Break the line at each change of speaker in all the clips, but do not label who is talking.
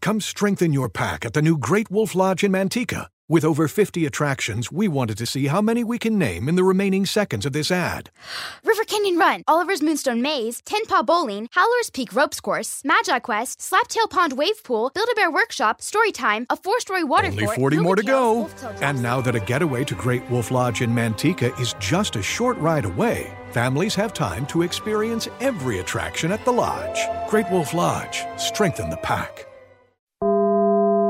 Come strengthen your pack at the new Great Wolf Lodge in Manteca. With over 50 attractions, we wanted to see how many we can name in the remaining seconds of this ad.
River Canyon Run, Oliver's Moonstone Maze, Ten Paw Bowling, Howler's Peak Ropes Course, Magi Quest, Slaptail Pond Wave Pool, Build-A-Bear Workshop, Story Time, a four-story water
Only
fort,
40 more to
Booby
go.
Trails, Wolf Tale
And
Trails.
now that a getaway to Great Wolf Lodge in Manteca is just a short ride away, families have time to experience every attraction at the lodge. Great Wolf Lodge, strengthen the pack.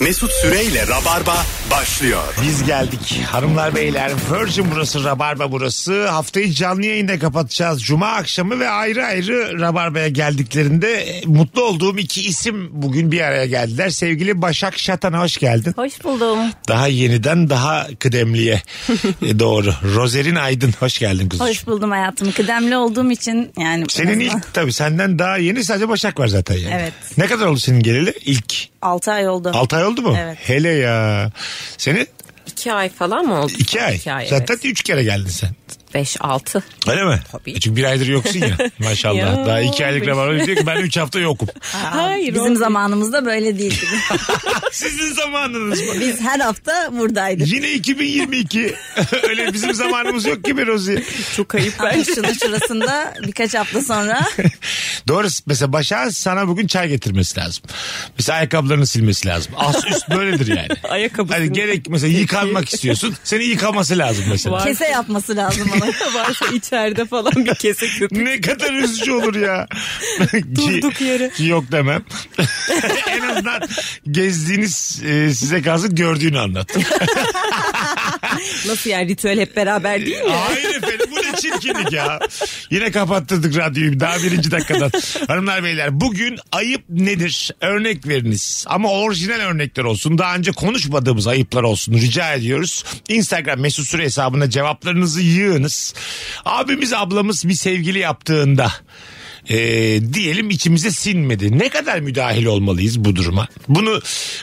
Mesut Süreyle Rabarba başlıyor.
Biz geldik hanımlar beyler. Virgin burası, Rabarba burası. Haftayı canlı yayında kapatacağız. Cuma akşamı ve ayrı ayrı Rabarba'ya geldiklerinde e, mutlu olduğum iki isim bugün bir araya geldiler. Sevgili Başak Şatan'a hoş geldin.
Hoş buldum.
Daha yeniden daha kıdemliye E, doğru. Rozerin Aydın hoş geldin kuzucuğum.
Hoş buldum hayatım. Kıdemli olduğum için yani.
Senin ilk tabii senden daha yeni sadece Başak var zaten yani.
Evet.
Ne kadar oldu senin geleli? İlk
6 ay oldu.
6 ay oldu mu?
Evet.
Hele ya. Senin
İki ay falan mı oldu?
2 ay.
İki ay
zaten
evet.
3 kere geldin sen.
Beş, altı.
Öyle mi? E
Tabii.
Çünkü bir aydır yoksun ya maşallah.
Ya,
Daha iki aylık
beş.
var. Öyle diyor ki ben üç hafta yokum.
Hayır.
Bizim zamanımızda böyle değildi.
Sizin zamanınız mı?
Biz her hafta buradaydık.
Yine 2022. Öyle bizim zamanımız yok gibi Rozi.
Çok kayıp
Ama şunun şurasında birkaç hafta sonra
Doğru. Mesela Başak'ın sana bugün çay getirmesi lazım. Mesela ayakkabılarını silmesi lazım. As üst böyledir yani.
Ayakkabısını.
Hani gerek mesela yıkanmak istiyorsun. Seni yıkaması lazım mesela.
Var.
kese yapması lazım ona.
Varsa içeride falan bir kese köpük.
Ne kadar üzücü olur ya.
Durduk yere.
Ki yok demem. en azından gezdiğiniz e, size kalsın gördüğünü anlat.
Nasıl yani ritüel hep beraber değil mi?
Hayır efendim bu ne çirkinlik ya. Yine kapattırdık radyoyu daha birinci dakikadan. Hanımlar beyler bugün ayıp nedir? Örnek veriniz. Ama orijinal örnekler olsun. Daha önce konuşmadığımız ayıplar olsun. Rica ediyoruz. Instagram mesut süre hesabına cevaplarınızı yığınız. Abimiz ablamız bir sevgili yaptığında e, diyelim içimize sinmedi. Ne kadar müdahil olmalıyız bu duruma? Bunu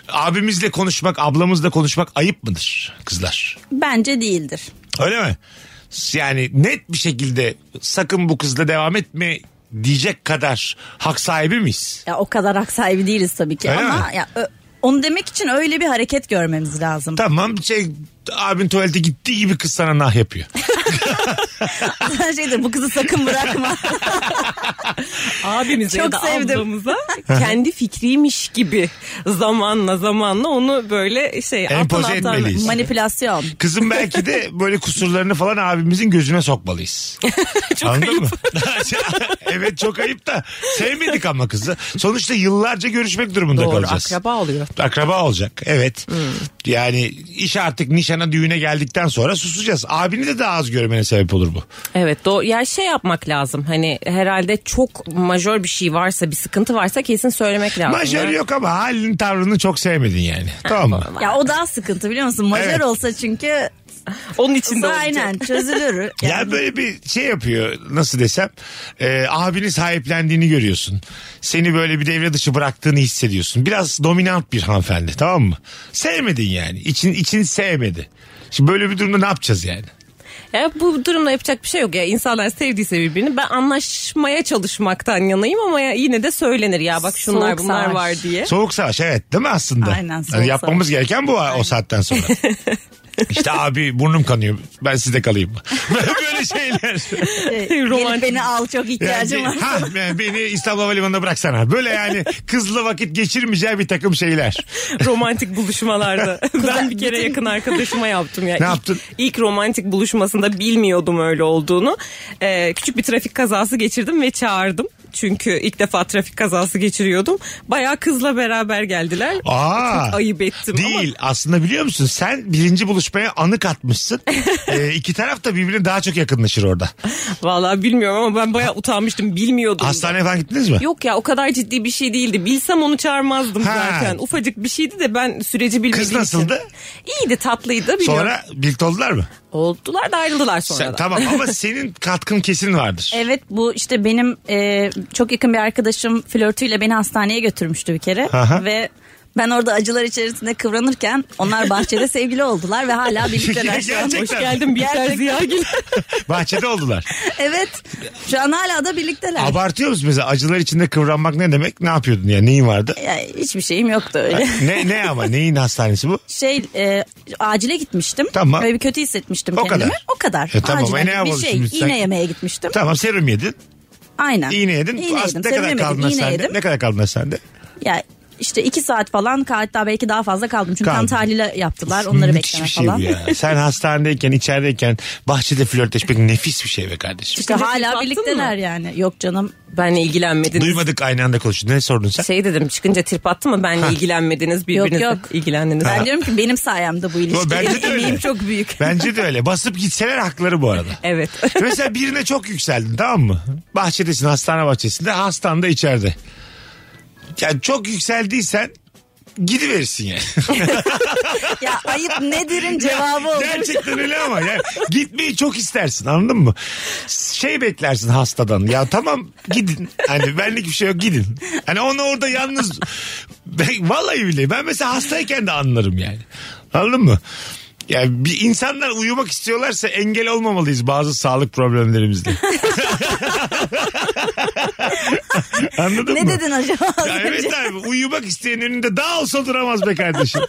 abimizle konuşmak, ablamızla konuşmak ayıp mıdır kızlar?
Bence değildir.
Öyle mi? Yani net bir şekilde sakın bu kızla devam etme diyecek kadar hak sahibi miyiz?
Ya o kadar hak sahibi değiliz tabii ki
Öyle
ama
mi?
ya, ö- onu demek için öyle bir hareket görmemiz lazım.
Tamam şey abin tuvalete gittiği gibi kız sana nah yapıyor.
Sen şey de bu kızı sakın bırakma.
Abimize
Çok
ya da
sevdim.
ablamıza kendi fikriymiş gibi zamanla zamanla onu böyle şey alttan
Empoze
alttan-
etmeliyiz.
Manipülasyon.
Kızım belki de böyle kusurlarını falan abimizin gözüne sokmalıyız.
Çok
Anladın
ayıp.
mı? evet çok ayıp da sevmedik ama kızı. Sonuçta yıllarca görüşmek durumunda
Doğru
kalacağız.
akraba Hmm. oluyor.
Akraba olacak evet. Yani iş artık nişana düğüne geldikten sonra susacağız. Abini de daha az görmene sebep olur bu.
Evet doğru. Ya şey yapmak lazım. Hani herhalde çok majör bir şey varsa, bir sıkıntı varsa kesin söylemek lazım.
Majör
Yani-
yok ama halini tavrını çok sevmedin yani. Tamam mı?
Ya o daha sıkıntı biliyor musun? Majör
Evet.
olsa çünkü
Onun için de olacak.
aynen çözülür.
Ya böyle bir şey yapıyor nasıl desem e, abini sahiplendiğini görüyorsun. Seni böyle bir devre dışı bıraktığını hissediyorsun. Biraz dominant bir hanımefendi tamam mı? Sevmedin yani. İçin, için sevmedi. Şimdi böyle bir durumda ne yapacağız yani?
Ya bu durumda yapacak bir şey yok ya. İnsanlar sevdiyse birbirini ben anlaşmaya çalışmaktan yanayım ama ya yine de söylenir ya bak şunlar
Soğuk
bunlar
savaş.
var diye.
Soğuk savaş evet değil mi aslında?
Aynen, soğuk
Yani yapmamız
savaş.
gereken bu o saatten sonra. işte abi burnum kanıyor ben sizde kalayım mı? böyle şeyler.
Ee, Gelip
Romantik.
beni al çok ihtiyacım var.
Yani, ha, yani beni İstanbul Havalimanı'nda bıraksana. Böyle yani kızla vakit geçirmeyeceği bir takım şeyler.
romantik buluşmalarda. ben bir kere yakın arkadaşıma yaptım ya.
Ne
İlk-
yaptın?
İlk romantik buluşmasında bilmiyordum öyle olduğunu. Ee, küçük bir trafik kazası geçirdim ve çağırdım. Çünkü ilk defa trafik kazası geçiriyordum. Bayağı kızla beraber geldiler.
Aa,
Çok ayıp ettim ama-
Değil aslında biliyor musun sen birinci buluşmaya anı katmışsın. ee, iki taraf da birbirine daha çok yakınlaşır orada.
Vallahi bilmiyorum ama ben bayağı utanmıştım. Bilmiyordum. da.
Hastaneye falan gittiniz mi?
Yok ya o kadar ciddi bir şey değildi. Bilsem onu çağırmazdım
Ha.
zaten. Ufacık bir şeydi de ben süreci bilmediğim
Kız nasıldı?
Için. İyiydi tatlıydı. Biliyorum.
Sonra birlikte oldular mı?
Oldular da ayrıldılar
Sen-
sonra da.
tamam ama senin katkın kesin vardır.
Evet bu işte benim e, çok yakın bir arkadaşım flörtüyle beni hastaneye götürmüştü bir kere
Aha.
ve Ben orada acılar içerisinde kıvranırken onlar bahçede sevgili oldular ve hala birlikteler şu an.
Hoş
Gerçekten.
geldin Bihter
Gerçekten.
Ziyagil.
Bahçede oldular.
Evet. Şu an hala da birlikteler.
Abartıyor musun mesela acılar içinde kıvranmak ne demek? Ne yapıyordun ya? Neyin vardı?
Ya, hiçbir şeyim yoktu öyle.
ne ne ama neyin hastanesi bu?
şey e, acile gitmiştim.
Tamam.
Ve bir kötü hissetmiştim
O
kendimi.
kadar.
O kadar.
E tamam,
Acilen
e ne yapalım
bir şey
şimdi sen-
iğne yemeye gitmiştim.
Tamam serum yedin.
Aynen.
İğne yedin.
İğne
Aslında ne kadar
yedim. sevinemedim,
kaldın
iğne
hastanede?
yedim.
Ne kadar kaldın hastanede?
Ya işte iki saat falan hatta belki daha fazla kaldım. Çünkü
Kaldım.
kan tahlili yaptılar. Onları
Müthiş
bekleme
bir şey
falan.
bu ya. Sen hastanedeyken, içerideyken bahçede flörtleşmek nefis bir şey be kardeşim.
İşte
Çıkınca
hala
flörtlattın
birlikteler
mı?
yani. Yok canım.
Benle ilgilenmediniz.
Duymadık aynı anda konuştun. Ne sordun sen?
Şey dedim çıkınca trip attı mı benle ilgilenmediniz birbirinizle
yok.
ilgilendiniz.
Ben diyorum ki benim sayemde bu ilişki.
bence de öyle.
Emeğim çok büyük.
Bence de öyle. Basıp gitseler hakları bu arada.
Evet.
Mesela birine çok yükseldin tamam mı? Bahçedesin hastane bahçesinde hastan da içeride. Yani çok yükseldiysen gidiverirsin yani.
ya ayıp nedirin cevabı olur.
Gerçekten öyle ama yani gitmeyi çok istersin anladın mı? Şey beklersin hastadan ya tamam gidin hani benlik bir şey yok gidin. Hani onu orada yalnız ben, vallahi bile ben mesela hastayken de anlarım yani anladın mı? Yani bir insanlar uyumak istiyorlarsa engel olmamalıyız bazı sağlık problemlerimizde. Anladın mı?
Ne dedin acaba? az
Ya
önce?
evet abi uyumak isteyen önünde daha olsa duramaz be kardeşim.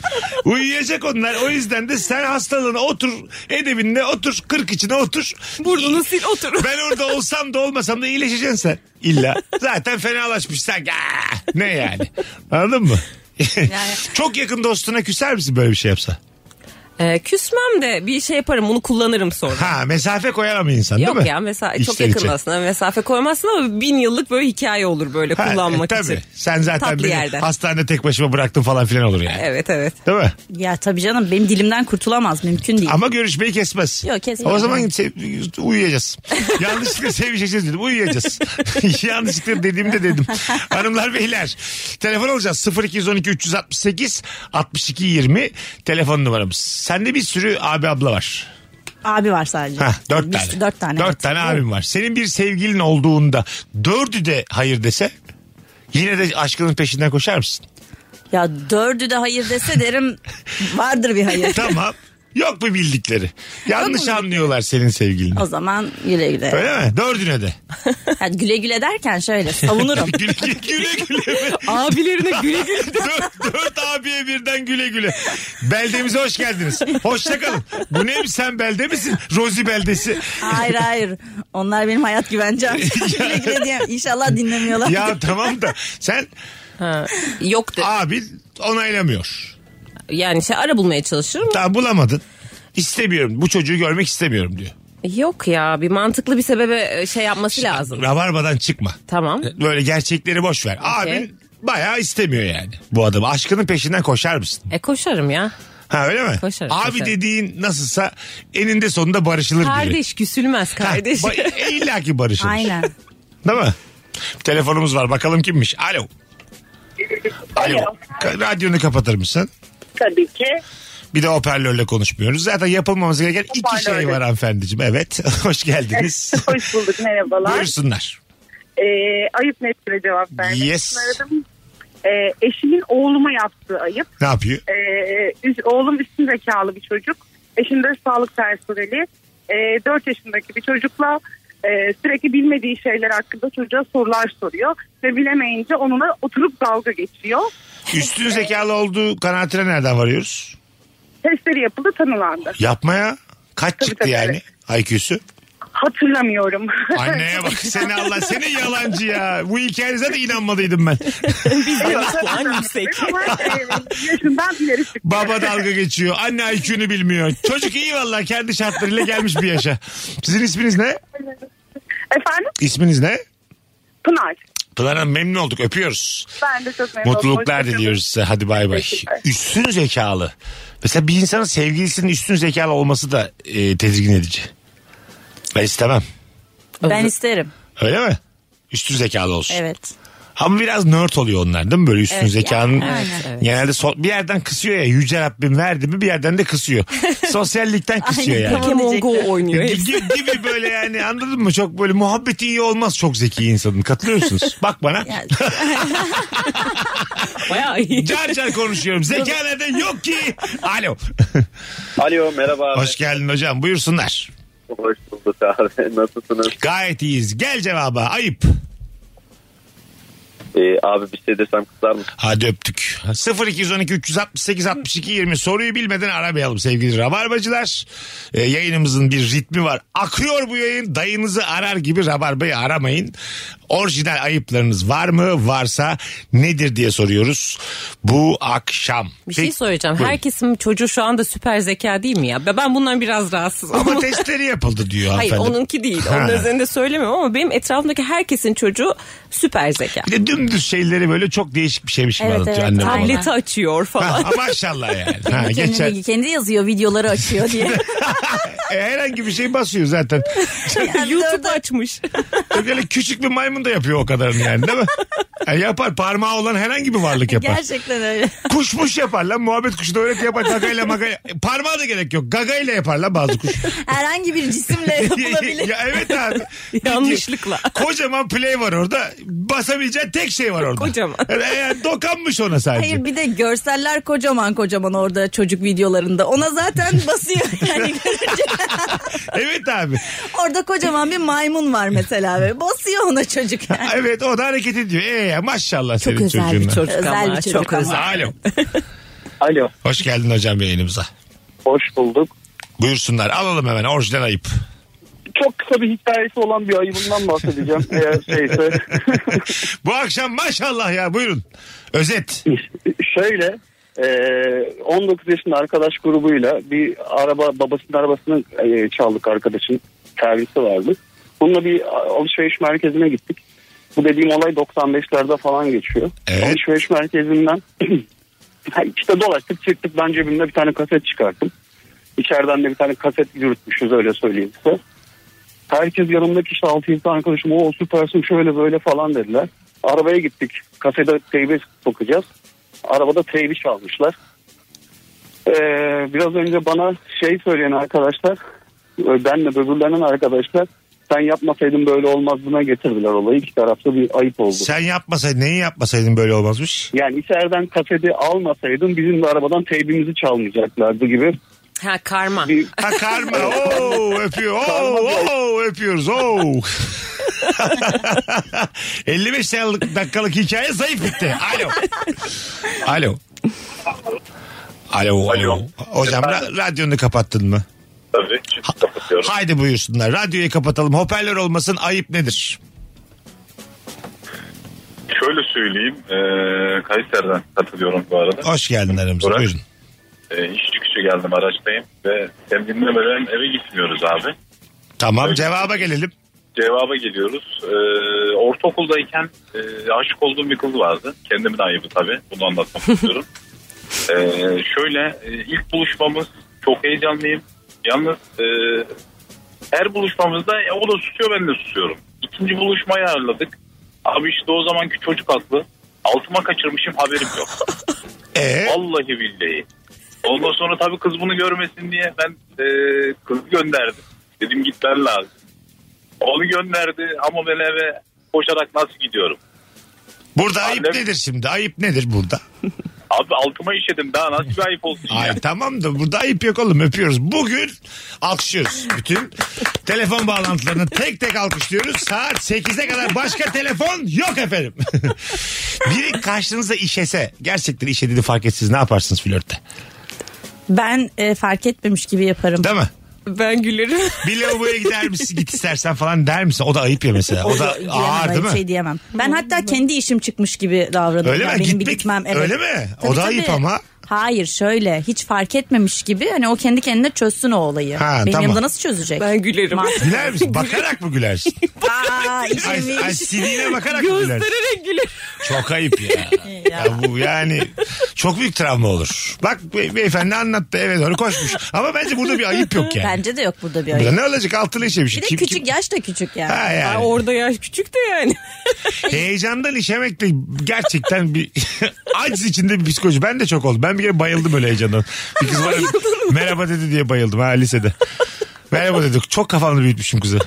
Uyuyacak onlar o yüzden de sen hastalığına otur edebinde otur kırk içine otur.
Burnunu sil otur.
Ben orada olsam da olmasam da iyileşeceksin sen illa. Zaten fenalaşmış sen. Aa, Ne yani anladın mı? Çok yakın dostuna küser misin böyle bir şey yapsa?
Ee, küsmem de bir şey yaparım bunu kullanırım sonra.
Ha mesafe koyar ama insan değil
Yok
mi?
ya mesela çok
İçten
yakın
içe.
aslında mesafe koymazsın ama bin yıllık böyle hikaye olur böyle
Ha, e,
kullanmak
tabii.
için.
Sen zaten
Tatlı
beni
yerden.
hastanede tek başıma bıraktın falan filan olur yani.
Evet evet.
Değil mi?
Ya tabii canım benim dilimden kurtulamaz mümkün değil.
Ama görüşmeyi kesmez.
Yok, kesmez.
O zaman se- uyuyacağız. Yanlışlıkla sevişeceğiz dedim. Uyuyacağız. Yanlışlıkla dediğimde dedim. Hanımlar beyler. Telefon alacağız. 0212 368 62 20 telefon numaramız. Sende bir sürü abi abla var.
Abi var sadece.
Heh, dört
Bir-
tane.
Dört tane.
Dört
evet.
tane abim var. Senin bir sevgilin olduğunda dördü de hayır dese yine de aşkının peşinden koşar mısın?
Ya dördü de hayır dese derim vardır bir hayır.
tamam. Yok mu bildikleri? Yanlış
bildikleri.
anlıyorlar senin sevgilini.
O zaman güle güle.
Öyle mi? Dördüne de.
Yani güle güle derken şöyle savunurum.
güle güle güle güle.
Abilerine güle güle.
dört, dört abiye birden güle güle. Beldemize hoş geldiniz. Hoşça kalın. Bu ne sen belde misin? Rozi beldesi.
hayır hayır. Onlar benim hayat güvencem. güle güle diyeyim. İnşallah dinlemiyorlar.
Ya tamam da sen
Yok de.
abi onaylamıyor.
Yani şey ara bulmaya çalışırım.
Daha bulamadın. İstemiyorum. Bu çocuğu görmek istemiyorum diyor.
Yok ya bir mantıklı bir sebebe e, şey yapması lazım.
Rabarbadan çıkma.
Tamam.
Böyle gerçekleri boş ver.
Okey.
Abin bayağı istemiyor yani bu adamı. Aşkının peşinden koşar mısın?
E koşarım ya.
Ha öyle mi?
Koşarım,
Abi
koşarım.
dediğin nasılsa eninde sonunda barışılır biri.
Kardeş küsülmez
Ha,
kardeş.
ba- e, İlla ki barışılır.
Aynen.
Değil mi? Telefonumuz var. Bakalım kimmiş? Alo. Alo. Ka- Radyonu kapatır mısın?
Tabii ki.
Bir de hoparlörle konuşmuyoruz. Zaten yapılmamız gereken iki şey
Hoparlörle.
var hanımefendiciğim. Evet. Hoş geldiniz.
Hoş bulduk merhabalar.
Buyursunlar.
Ee, ayıp netlere cevap vermek
Yes.
için aradım. Ee, eşimin oğluma yaptığı ayıp.
Ne yapıyor?
Ee, üz- oğlum üstün zekalı bir çocuk. Eşim de sağlık personeli. Ee, 4 yaşındaki bir çocukla e, sürekli bilmediği şeyler hakkında çocuğa sorular soruyor. Ve bilemeyince onunla oturup dalga geçiyor.
Üstün zekalı olduğu kanaatine nereden varıyoruz?
Testleri yapıldı tanılandı.
Yapmaya kaç çıktı
tabii,
yani IQ'su?
Hatırlamıyorum.
Anneye bak seni Allah seni yalancı ya. Bu hikayenize de inanmadıydım ben.
Lan yüksek.
Ama e, yaşından ileri çıktı.
Baba dalga geçiyor. Anne IQ'nu bilmiyor. Çocuk iyi vallahi kendi şartlarıyla gelmiş bir yaşa. Sizin isminiz ne?
Efendim?
İsminiz ne?
Pınar.
Pınar Hanım memnun olduk öpüyoruz.
Ben de çok memnun oldum.
Mutluluklar
Hoşçakalın.
diliyoruz size hadi bay bay.
Teşekkürler.
Üstün zekalı. Mesela bir insanın sevgilisinin üstün zekalı olması da e, tedirgin edici. Ben istemem.
Ben isterim.
Öyle mi? Üstün zekalı olsun.
Evet.
Ama biraz nerd oluyor onlar değil mi böyle üstün
Evet,
zekanın.
yani, evet, evet.
Genelde so- bir yerden kısıyor ya yüce Rabbim verdi mi bir yerden de kısıyor. Sosyallikten kısıyor
Aynen,
yani.
tamam.
Pokemon Go
diyecektim.
oynuyor
Gibi,
hepsi.
gibi böyle yani anladın mı? Çok böyle muhabbeti iyi olmaz çok zeki insanın. Katılıyor musunuz? Bak bana.
Yani,
Bayağı iyi.
Car car konuşuyorum. Zeka nereden yok ki? Alo.
Alo merhaba abi.
Hoş geldin hocam. Buyursunlar.
Hoş bulduk abi. Nasılsınız?
Gayet iyiyiz. Gel cevaba. Ayıp.
Ee, abi bir şey desem kızar mısın?
Hadi öptük. 0212 368 62 20 soruyu bilmeden aramayalım sevgili rabarbacılar. Ee, yayınımızın bir ritmi var. Akıyor bu yayın. Dayınızı arar gibi rabarbayı aramayın. Orijinal ayıplarınız var mı? Varsa nedir diye soruyoruz bu akşam.
Bir şey
Peki-
söyleyeceğim.
Buyurun.
Herkesin çocuğu şu anda süper zeka değil mi ya? Ben bundan biraz rahatsızım.
Ama testleri yapıldı diyor
Hayır
hanımefendi.
onunki değil. Onun
Ha.
üzerinde söylemiyorum ama benim etrafımdaki herkesin çocuğu süper zeka.
Bir de dümdüz şeyleri böyle çok değişik bir şeymiş gibi
Evet,
anlatıyor
evet,
annem bana.
aynen.
Tableti açıyor falan.
Ha, maşallah yani. Ha, geçen,
kendine, kendi yazıyor videoları açıyor diye.
E, herhangi bir şey basıyor zaten.
YouTube açmış.
Böyle küçük bir maymun da yapıyor o kadarını yani değil mi? Ha, yapar parmağı olan herhangi bir varlık yapar.
Gerçekten öyle.
Kuş muş yapar lan muhabbet kuşu da öyle yapar gagayla magayla. E, Parmağı da gerek yok gagayla yapar lan bazı kuş.
Herhangi bir cisimle yapılabilir.
ya, evet abi.
Yanlışlıkla.
Kocaman play var orada. Basabileceğin tek şey var orada.
Kocaman.
E, e, dokanmış ona sadece.
Hayır bir de görseller kocaman kocaman orada çocuk videolarında. Ona zaten basıyor yani görünce.
Evet abi.
Orada kocaman bir maymun var mesela ve basıyor ona çocuk yani.
Evet o da hareket ediyor. E, maşallah
Çok
senin
özel bir
çocuğuna.
çocuk
Özel
ama.
bir çocuk
çok
ama.
özel.
Alo.
Alo.
Hoş geldin hocam yayınımıza.
Hoş bulduk.
Buyursunlar alalım hemen orijinal ayıp.
Çok kısa bir hikayesi olan bir ayımından bahsedeceğim eğer şeyse.
Bu akşam maşallah ya buyurun. Özet.
Şöyle eee, 19 yaşında arkadaş grubuyla bir araba babasının arabasını eee, çaldık arkadaşın servisi vardı. Bununla bir a- alışveriş merkezine gittik. Bu dediğim olay 95'lerde falan geçiyor.
Evet.
Alışveriş merkezinden Ha, işte dolaştık çıktık ben cebimde bir tane kaset çıkarttım. İçeriden de bir tane kaset yürütmüşüz öyle söyleyeyim size. Herkes yanımdaki işte 6-7 tane arkadaşım o süpersin şöyle böyle falan dediler. Arabaya gittik. Kafede teybe sokacağız. Arabada teybi çalmışlar. Ee, biraz önce bana şey söyleyen arkadaşlar e, benle böbürlenen arkadaşlar sen yapmasaydın böyle olmazlığına getirdiler olayı. İki tarafta bir ayıp oldu.
Sen yapmasaydın neyi yapmasaydın böyle olmazmış.
Yani içeriden kaseti almasaydın bizim de arabadan teybimizi çalmayacaklardı gibi
Ha karma.
bir
Ha karma ooo öpüyor ooo ooo öpüyoruz ooo. 55 dakikalık, dakikalık hikaye zayıf bitti. Alo. Alo. Alo, alo. Hocam ra- radyonu kapattın mı?
Tabii çıkıp kapatıyorum.
Haydi buyursunlar. Radyoyu kapatalım. Hoparlör olmasın. Ayıp nedir?
Şöyle söyleyeyim. eee Kayseri'den katılıyorum bu arada.
Hoş geldin aramıza.
Burak.
Buyurun.
Eee, iş çıkışı geldim araçtayım ve sen dinlemeden eve gitmiyoruz abi.
Tamam cevaba gelelim.
Cevaba geliyoruz. Eee ortaokuldayken eee, aşık olduğum bir kız vardı. Kendimin ayıbı tabii. Bunu anlatmak istiyorum. Eee, şöyle eee, ilk buluşmamız çok heyecanlıyım. Yalnız eee, her buluşmamızda e, o da susuyor ben de susuyorum. İkinci buluşmayı ayarladık. Abi işte o zamanki çocuk aklı. Altıma kaçırmışım haberim yok.
Ee,
Vallahi billahi. Ondan sonra tabii kız bunu görmesin diye ben e, kızı gönderdim. Dedim gitmen lazım. Onu gönderdi ama ben eve koşarak nasıl gidiyorum?
burada ayıp
Annem-
nedir şimdi? Ayıp nedir burada?
Abi altıma işedim daha nasıl bir ayıp olsun ya.
Ay tamam da burada ayıp yok oğlum öpüyoruz. Bugün alkışlıyoruz bütün telefon bağlantılarını tek tek alkışlıyoruz. Saat 8'e kadar başka telefon yok efendim. Biri karşınıza işese gerçekten işediğini fark etsiniz ne yaparsınız flörtte
Ben e, fark etmemiş gibi yaparım.
değil mi?
Ben gülerim.
Bir lavaboya gider misin git istersen falan der misin? O da ayıp ya mesela. O da
Diyemem,
ağır değil
hiçbir
mi?
Şey diyemem. Ben hatta kendi işim çıkmış gibi davranırım.
Öyle
Yani
mi?
Benim bir
Gitmek-
gitmem. Evet.
Öyle mi? O
Tabii,
da ayıp
tabii.
ama.
Hayır şöyle hiç fark etmemiş gibi hani o kendi kendine çözsün o olayı.
Ha,
Benim
tamam.
yanımda nasıl çözecek? Ben
gülerim.
Güler misin? Bakarak mı gülersin?
Aa,
ay,
işemiş.
ay siliğine bakarak mı gülersin?
Göstererek gülerim.
Çok ayıp ya. ya bu yani çok büyük travma olur. Bak be- beyefendi anlattı eve doğru koşmuş. Ama bence burada bir ayıp yok yani.
Bence de yok burada bir
Burada
ayıp.
ne olacak altını işemiş.
Bir de
Kim-
küçük
kim-
yaş da küçük yani.
Ha yani.
Ay, orada yaş küçük de yani.
Heyecandan işemek de gerçekten bir aciz içinde bir psikoloji. Ben de çok oldum. Ben bir kere bayıldım öyle heyecandan. Bir kız bana merhaba dedi diye bayıldım ha lisede. merhaba dedi. Çok kafamda büyütmüşüm kızı.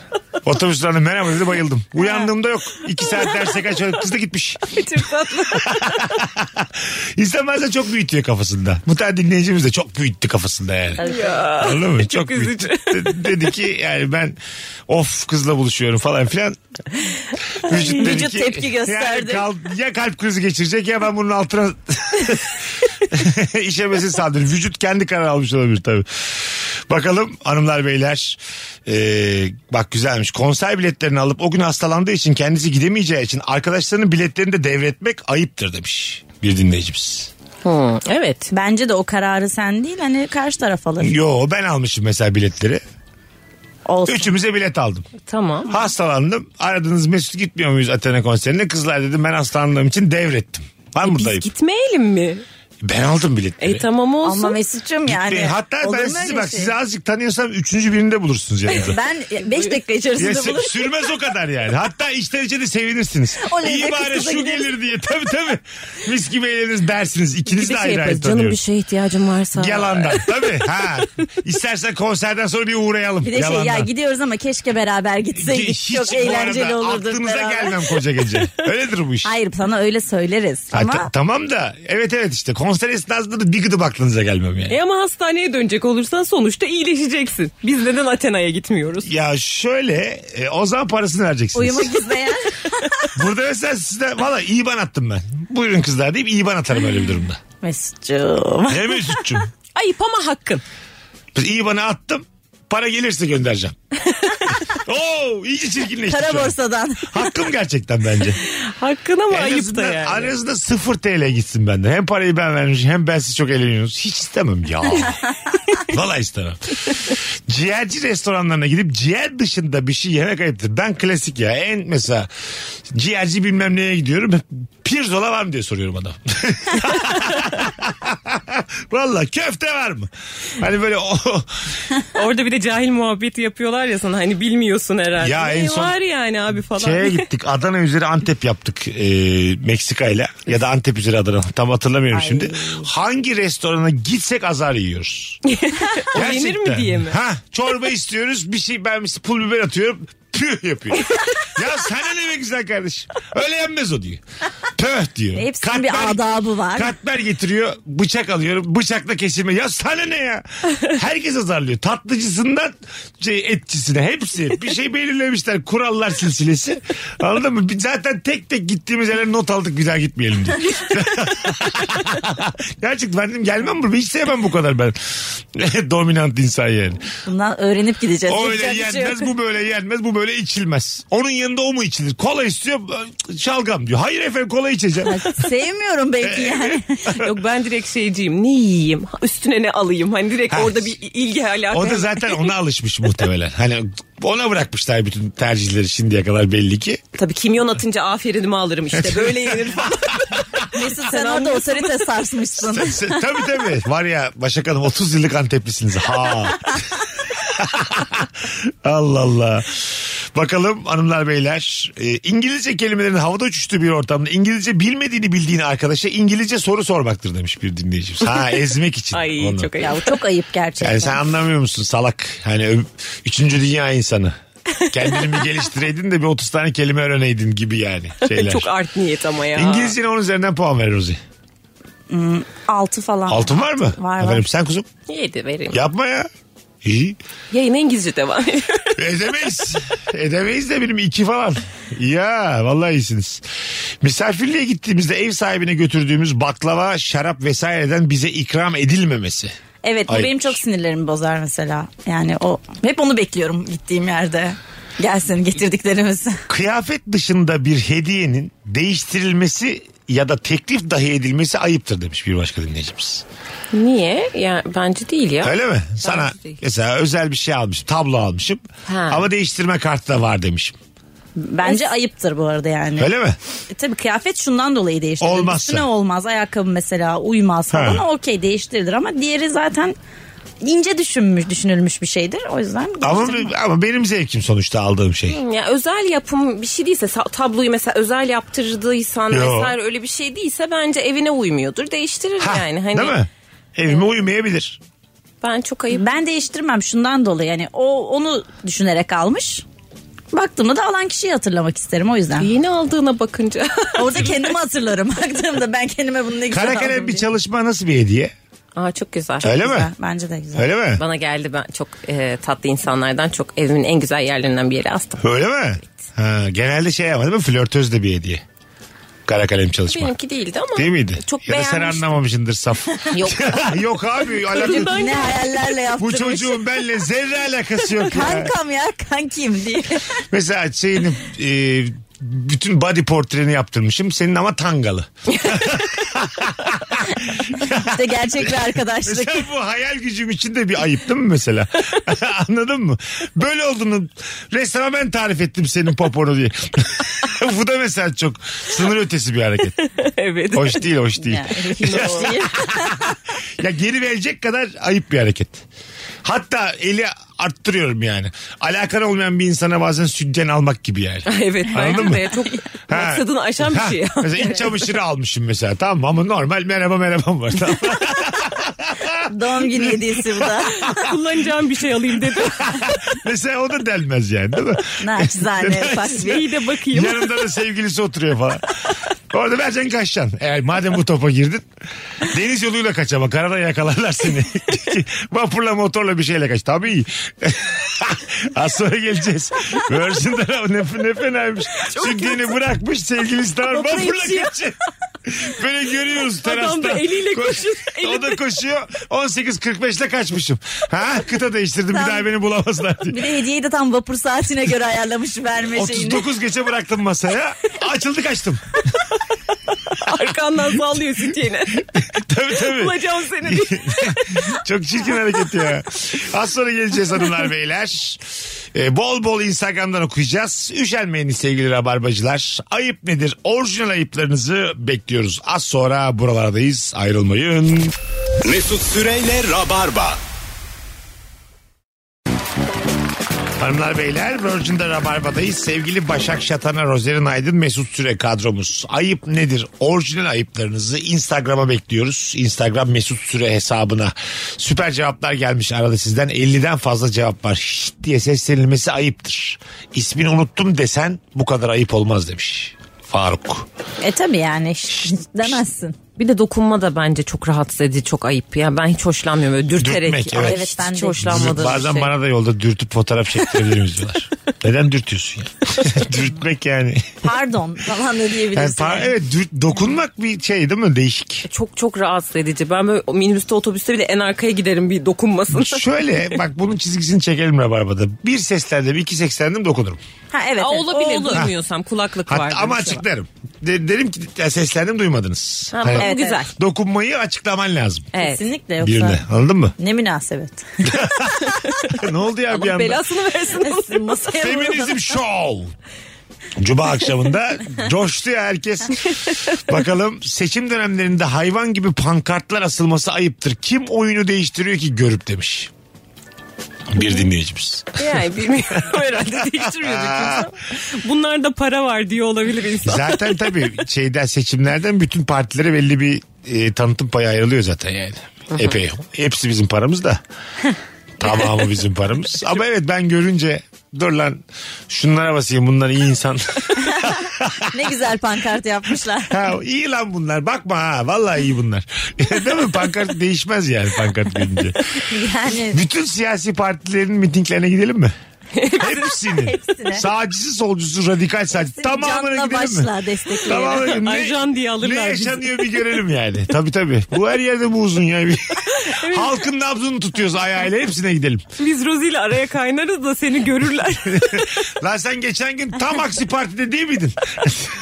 Otobüs durağında merhaba dedi bayıldım. Uyandığımda yok. İki saat derse kaç kız da gitmiş.
Çok tatlı.
İnsan bazen çok büyütüyor kafasında. Muhtemelen dinleyicimiz de çok büyüttü kafasında yani. Anladın mı? Çok büyüttü. De- Dedi ki yani ben of kızla buluşuyorum falan filan. Vücut, dedi
vücut tepki
Yani
gösterdi.
kal- ya kalp krizi geçirecek ya ben bunun altına işemesin sandım. Vücut kendi karar almış olabilir tabii. Bakalım hanımlar beyler. Ee, bak güzelmiş. Konser biletlerini alıp o gün hastalandığı için kendisi gidemeyeceği için arkadaşlarının biletlerini de devretmek ayıptır demiş bir dinleyicimiz. Hmm,
evet.
Bence de o kararı sen değil hani karşı taraf alır.
Yo ben almışım mesela biletleri.
Olsun.
Üçümüze bilet aldım.
Tamam.
Hastalandım. Aradınız Mesut gitmiyor muyuz Athena konserine? Kızlar dedim ben hastalandığım için devrettim.
E,
Ben
Biz
buradayım.
gitmeyelim mi?
Ben aldım biletleri.
E tamam olsun.
Ama Mesut'cum yani.
Ve hatta
olur
ben
mu
sizi
öyle
bak
şey?
sizi azıcık tanıyorsam üçüncü birinde bulursunuz yani.
Ben 5 dakika
Ya
içerisinde
sü-
bulurum.
sürmez o kadar yani. Hatta içten içe de sevinirsiniz.
O ne,
İyi
kız
bari
kıza
şu
gideriz.
gelir diye. Tabii tabii. Mis gibi eğleniriz dersiniz. İkiniz
bir
de
şey
ayrı ayrı
yaparız. Canım bir
tanıyoruz.
şeye ihtiyacım varsa.
Yalandan tabii. Ha. İstersen konserden sonra bir uğrayalım.
Bir de şey ya gidiyoruz ama keşke beraber gitseydik.
Hiç
Çok
bu arada
eğlenceli olurdu.
Aklınıza gelmem koca gece. Öyledir bu iş.
Hayır sana öyle söyleriz.
Ha,
ama
ta- tamam da evet evet işte konser esnasında da bir gıdım aklınıza gelmem yani.
E ama hastaneye dönecek olursan sonuçta iyileşeceksin. Biz neden Athena'ya gitmiyoruz?
Ya şöyle e, o zaman parasını vereceksiniz.
uyumak isteyen
Burada mesela size valla IBAN attım ben. Buyurun kızlar deyip IBAN atarım öyle bir durumda.
Mesut'cum.
Ne Mesut'cum?
Ayıp ama hakkın.
Biz IBAN'ı attım. Para gelirse göndereceğim. Oo iyice çirkinleşti.
Kara
şu an.
borsadan.
Hakkım gerçekten bence.
Hakkın ama
en
ayıp da
azından hani-
yani.
aranızda 0 TL gitsin benden. Hem parayı ben vermiş hem ben siz çok eğleniyorsunuz. Hiç istemem ya. Valla istemem. Ciğerci restoranlarına gidip ciğer dışında bir şey yemek ayıptır. Ben klasik ya. En mesela ciğerci bilmem neye gidiyorum. Pirzola var mı diye soruyorum adam. Valla köfte var mı? Hani böyle o
Orada bir de cahil muhabbeti yapıyorlar ya sana hani bilmiyorsun herhalde.
Ya
Ne
en son-
Var yani abi falan.
şeye gittik. Adana üzeri Antep yaptık e, Meksika ile ya da Antep üzeri Adana tam hatırlamıyorum şimdi. Hangi restorana gitsek azar yiyoruz.
O yenir mi diye mi?
Ha, çorba istiyoruz. Bir şey ben mesela pul biber atıyorum. Püh yapıyor. ya sen ne be güzel kardeşim. Öyle yenmez o diyor. Pöh diyor.
Hepsinin bir adabı var.
Katmer getiriyor. Bıçak alıyorum. Bıçakla kesilme. Ya sana ne ya? Herkes azarlıyor. Tatlıcısından şey, etçisine hepsi. Bir şey belirlemişler. Kurallar silsilesi. Anladın mı? Biz Zaten tek tek gittiğimiz yerlere not aldık. Bir daha gitmeyelim diye. Gerçekten ben dedim gelmem buraya. Hiç sevmem bu kadar ben. Dominant insan yani.
Bundan öğrenip gideceğiz.
O öyle
Yapacak bir şey yok.
yenmez, bu böyle yenmez, bu böyle içilmez. Onun yanında o mu içilir? Kola istiyor, şalgam diyor. Hayır efendim kola içeceğim.
Sevmiyorum
E,
belki yani.
Yok ben direkt şeyciyim. Ne yiyeyim? Üstüne ne alayım? Hani direkt
Ha.
orada bir ilgi alaka.
o da zaten ona alışmış muhtemelen. Hani ona bırakmışlar bütün tercihleri şimdiye kadar belli ki.
Tabii kimyon atınca aferinimi alırım işte. Böyle yenir falan.
Mesut sen orada otorite sarsmışsın.
Sen- sen- tabii tabii. Var ya Başak Hanım 30 yıllık Anteplisiniz. Ha. Allah Allah. Bakalım hanımlar beyler. Ee, İngilizce kelimelerin havada uçuştuğu bir ortamda İngilizce bilmediğini bildiğin arkadaşa İngilizce soru sormaktır demiş bir dinleyicimiz. Ha ezmek için.
Ay
onu.
çok
ya
ayıp.
bu çok ayıp gerçekten.
Yani sen anlamıyor musun salak? Hani ö- üçüncü dünya insanı. Kendini bir geliştireydin de bir 30 tane kelime öğreneydin gibi yani şeyler.
Çok art niyet ama ya.
İngilizce'ne onun üzerinden puan ver Rozi.
Altı falan.
Altın var mı?
Var, var.
Efendim sen kuzum
Yedi vereyim.
yapma ya. İyi.
Yayın İngilizce devam ediyor.
Edemeyiz. Edemeyiz de benim iki falan. Ya vallahi iyisiniz. Misafirliğe gittiğimizde ev sahibine götürdüğümüz baklava, şarap vesaireden bize ikram edilmemesi.
Evet bu
Ayıp.
benim çok sinirlerimi bozar mesela. Yani o hep onu bekliyorum gittiğim yerde. Gelsin getirdiklerimiz.
Kıyafet dışında bir hediyenin değiştirilmesi ya da teklif dahi edilmesi ayıptır demiş bir başka dinleyicimiz.
Niye? Ya bence değil ya.
Öyle mi? Sana
değil.
mesela özel bir şey almışım. Tablo almışım.
Ha.
Ama değiştirme kartı da var demişim.
Bence ayıptır bu arada yani.
Öyle mi?
E, tabii kıyafet şundan dolayı değiştirilir.
Olmazsa.
Üstüne olmaz. Ayakkabı mesela uymaz falan.
Ha.
Okey değiştirilir ama diğeri zaten ince düşünmüş, düşünülmüş bir şeydir. O yüzden
Ama,
değiştirmem.
ama benim zevkim sonuçta aldığım şey.
Ya özel yapım bir şey değilse sa- tabloyu mesela özel yaptırdıysan
Yo.
vesaire öyle bir şey değilse bence evine uymuyordur. Değiştirir
Ha,
yani. Hani
Değil mi? Evime uyumayabilir.
ben çok ayıp.
Ben değiştirmem şundan dolayı. Yani o onu düşünerek almış. Baktığımda da alan kişiyi hatırlamak isterim o yüzden.
Yeni aldığına bakınca.
Orada kendimi hatırlarım. Baktığımda ben kendime bunu ne güzel
Kara
aldım
kalem bir
diye.
çalışma nasıl bir hediye?
Aa çok güzel.
Öyle
Güzel,
mi?
Bence de güzel.
Öyle mi?
Bana geldi ben çok e, tatlı insanlardan çok evimin en güzel yerlerinden bir yere astım.
Öyle mi? Ha, genelde şey ama değil mi? Flörtöz de bir hediye. Kara kalem çalışma.
Benimki değildi ama.
Değil miydi?
Çok
ya da sen
beğenmiştim.
anlamamışsındır saf.
Yok.
yok abi. alakası-
Ne hayallerle
Bu
yaptırmış.
çocuğun benimle zerre alakası yok ya.
Kankam ya kankim diye.
Mesela şeyini e, bütün body portreni yaptırmışım. Senin ama tangalı.
İşte gerçek bir arkadaşlık.
Mesela bu hayal gücüm için de bir ayıp değil mi mesela? Anladın mı? Böyle olduğunu resmen ben tarif ettim senin poponu diye. bu da mesela çok sınır ötesi bir hareket.
evet.
Hoş değil hoş değil.
Ya, hiç değil.
ya geri verecek kadar ayıp bir hareket. Hatta eli arttırıyorum yani. Alakan olmayan bir insana bazen sütten almak gibi yani.
evet
Anladın
bence
mı?
de çok
Ha.
maksadını aşan bir
Ha,
şey.
Mesela iç çamaşırı almışım mesela tamam mı? Ama normal merhaba merhabam var tamam mı?
Doğum günü hediyesi bu da.
Kullanacağım bir şey alayım dedim.
mesela o da delmez yani değil mi?
Naçizane ufak bir.
İyi de bakayım.
Yanında da sevgilisi oturuyor falan. Orada vereceksin kaçacaksın. Eğer madem bu topa girdin. Deniz yoluyla kaç ama karada yakalarlar seni. Vapurla motorla bir şeyle kaç. Tabii iyi. Az sonra geleceğiz. Virgin'de ne, ne fenaymış. Sütliğini bırakmış sevgilisi de var.
Vapura
Vapurla
yetişiyor.
kaçıyor. Böyle görüyoruz
Adam da
terasta.
eliyle
Koş-
koşuyor.
O da koşuyor. 18.45'le kaçmışım. Ha kıta değiştirdim bir
Tam-
daha beni bulamazlar diye.
Bir de hediyeyi de tam vapur saatine göre ayarlamış verme şeyini.
39 geçe bıraktım masaya. Açıldı kaçtım.
Arkandan sallıyor sütyeni.
tabii tabii.
Bulacağım seni diye.
Çok çirkin hareket ya. Az sonra geleceğiz hanımlar beyler. Ee, bol bol Instagram'dan okuyacağız. Üşenmeyiniz sevgili rabarbacılar. Ayıp nedir? Orijinal ayıplarınızı bekliyoruz. Az sonra buralardayız. Ayrılmayın.
Mesut Süreyle Rabarba.
Hanımlar beyler Virgin'de Rabarba'dayız. Sevgili Başak Şatan'a, Rozerin Aydın, Mesut Süre kadromuz. Ayıp nedir? Orijinal ayıplarınızı Instagram'a bekliyoruz. Instagram Mesut Süre hesabına. Süper cevaplar gelmiş arada sizden. 50'den fazla cevap var. Şşt diye seslenilmesi ayıptır. İsmini unuttum desen bu kadar ayıp olmaz demiş. Faruk.
E tabi yani şşş demezsin.
Bir de dokunma da bence çok rahatsız edici, çok ayıp. Yani ben hiç hoşlanmıyorum böyle dürterek.
Dürtmek, evet.
Evet,
evet
ben
ben
de.
hiç hoşlanmadığım
Bazen
bir şey.
bana da yolda dürtüp fotoğraf çektirebilir miyiz diyorlar. Neden dürtüyorsun ya? Dürtmek yani.
Pardon falan da
yani
diyebilirsin.
par- evet dürt- dokunmak bir şey değil mi? Değişik.
Çok çok rahatsız edici. Ben böyle minibüste otobüste bile en arkaya giderim bir dokunmasın.
Şöyle bak bunun çizgisini çekelim Rabarba'da. Bir seslendim, iki seslendim dokunurum.
Ha evet.
Aa,
evet.
olabilir
O olur.
duymuyorsam kulaklık
Hatta,
var.
ama açıklarım. De- derim ki "Ya seslendim duymadınız.
Ha,
Hani
bu
Evet,
güzel.
evet.
Dokunmayı açıklaman lazım.
Evet.
Kesinlikle yoksa.
Birine anladın mı?
Ne münasebet.
ne oldu ya bir
Allah
anda?
belasını versin.
Masaya vurdu.
Feminizm Show. Cuma akşamında coştu ya herkes. Bakalım seçim dönemlerinde hayvan gibi pankartlar asılması ayıptır. Kim oyunu değiştiriyor ki görüp demiş. Bir dinleyicimiz.
yani bilmiyorum herhalde değiştirmiyorduk kimse. Bunlarda para var diye olabilir insan.
Zaten tabii şeyden seçimlerden bütün partilere belli bir e, tanıtım payı ayrılıyor zaten yani. Epey. Hepsi bizim paramız da. Tamamı bizim paramız. Ama evet ben görünce dur lan şunlara basayım bunlar iyi insan.
ne güzel pankart yapmışlar.
ha, iyi lan bunlar bakma ha vallahi iyi bunlar. Değil mi pankart değişmez yani pankart görünce.
Yani
Bütün siyasi partilerin mitinglerine gidelim mi? Hepsini.
Hepsine.
Sağcısı solcusu radikal sağcı. Tamamına
Canla
gidelim mi?
başla destekleyelim.
Tamamına gidelim. Ne-
Ajan diye
Ne
alırlar bizi.
yaşanıyor bir görelim yani. Tabii tabii. Bu her yerde bu uzun yani. Halkın nabzını tutuyoruz ayağıyla hepsine gidelim.
Biz Rozi ile araya kaynarız da seni görürler.
Lan sen geçen gün tam aksi partide değil miydin?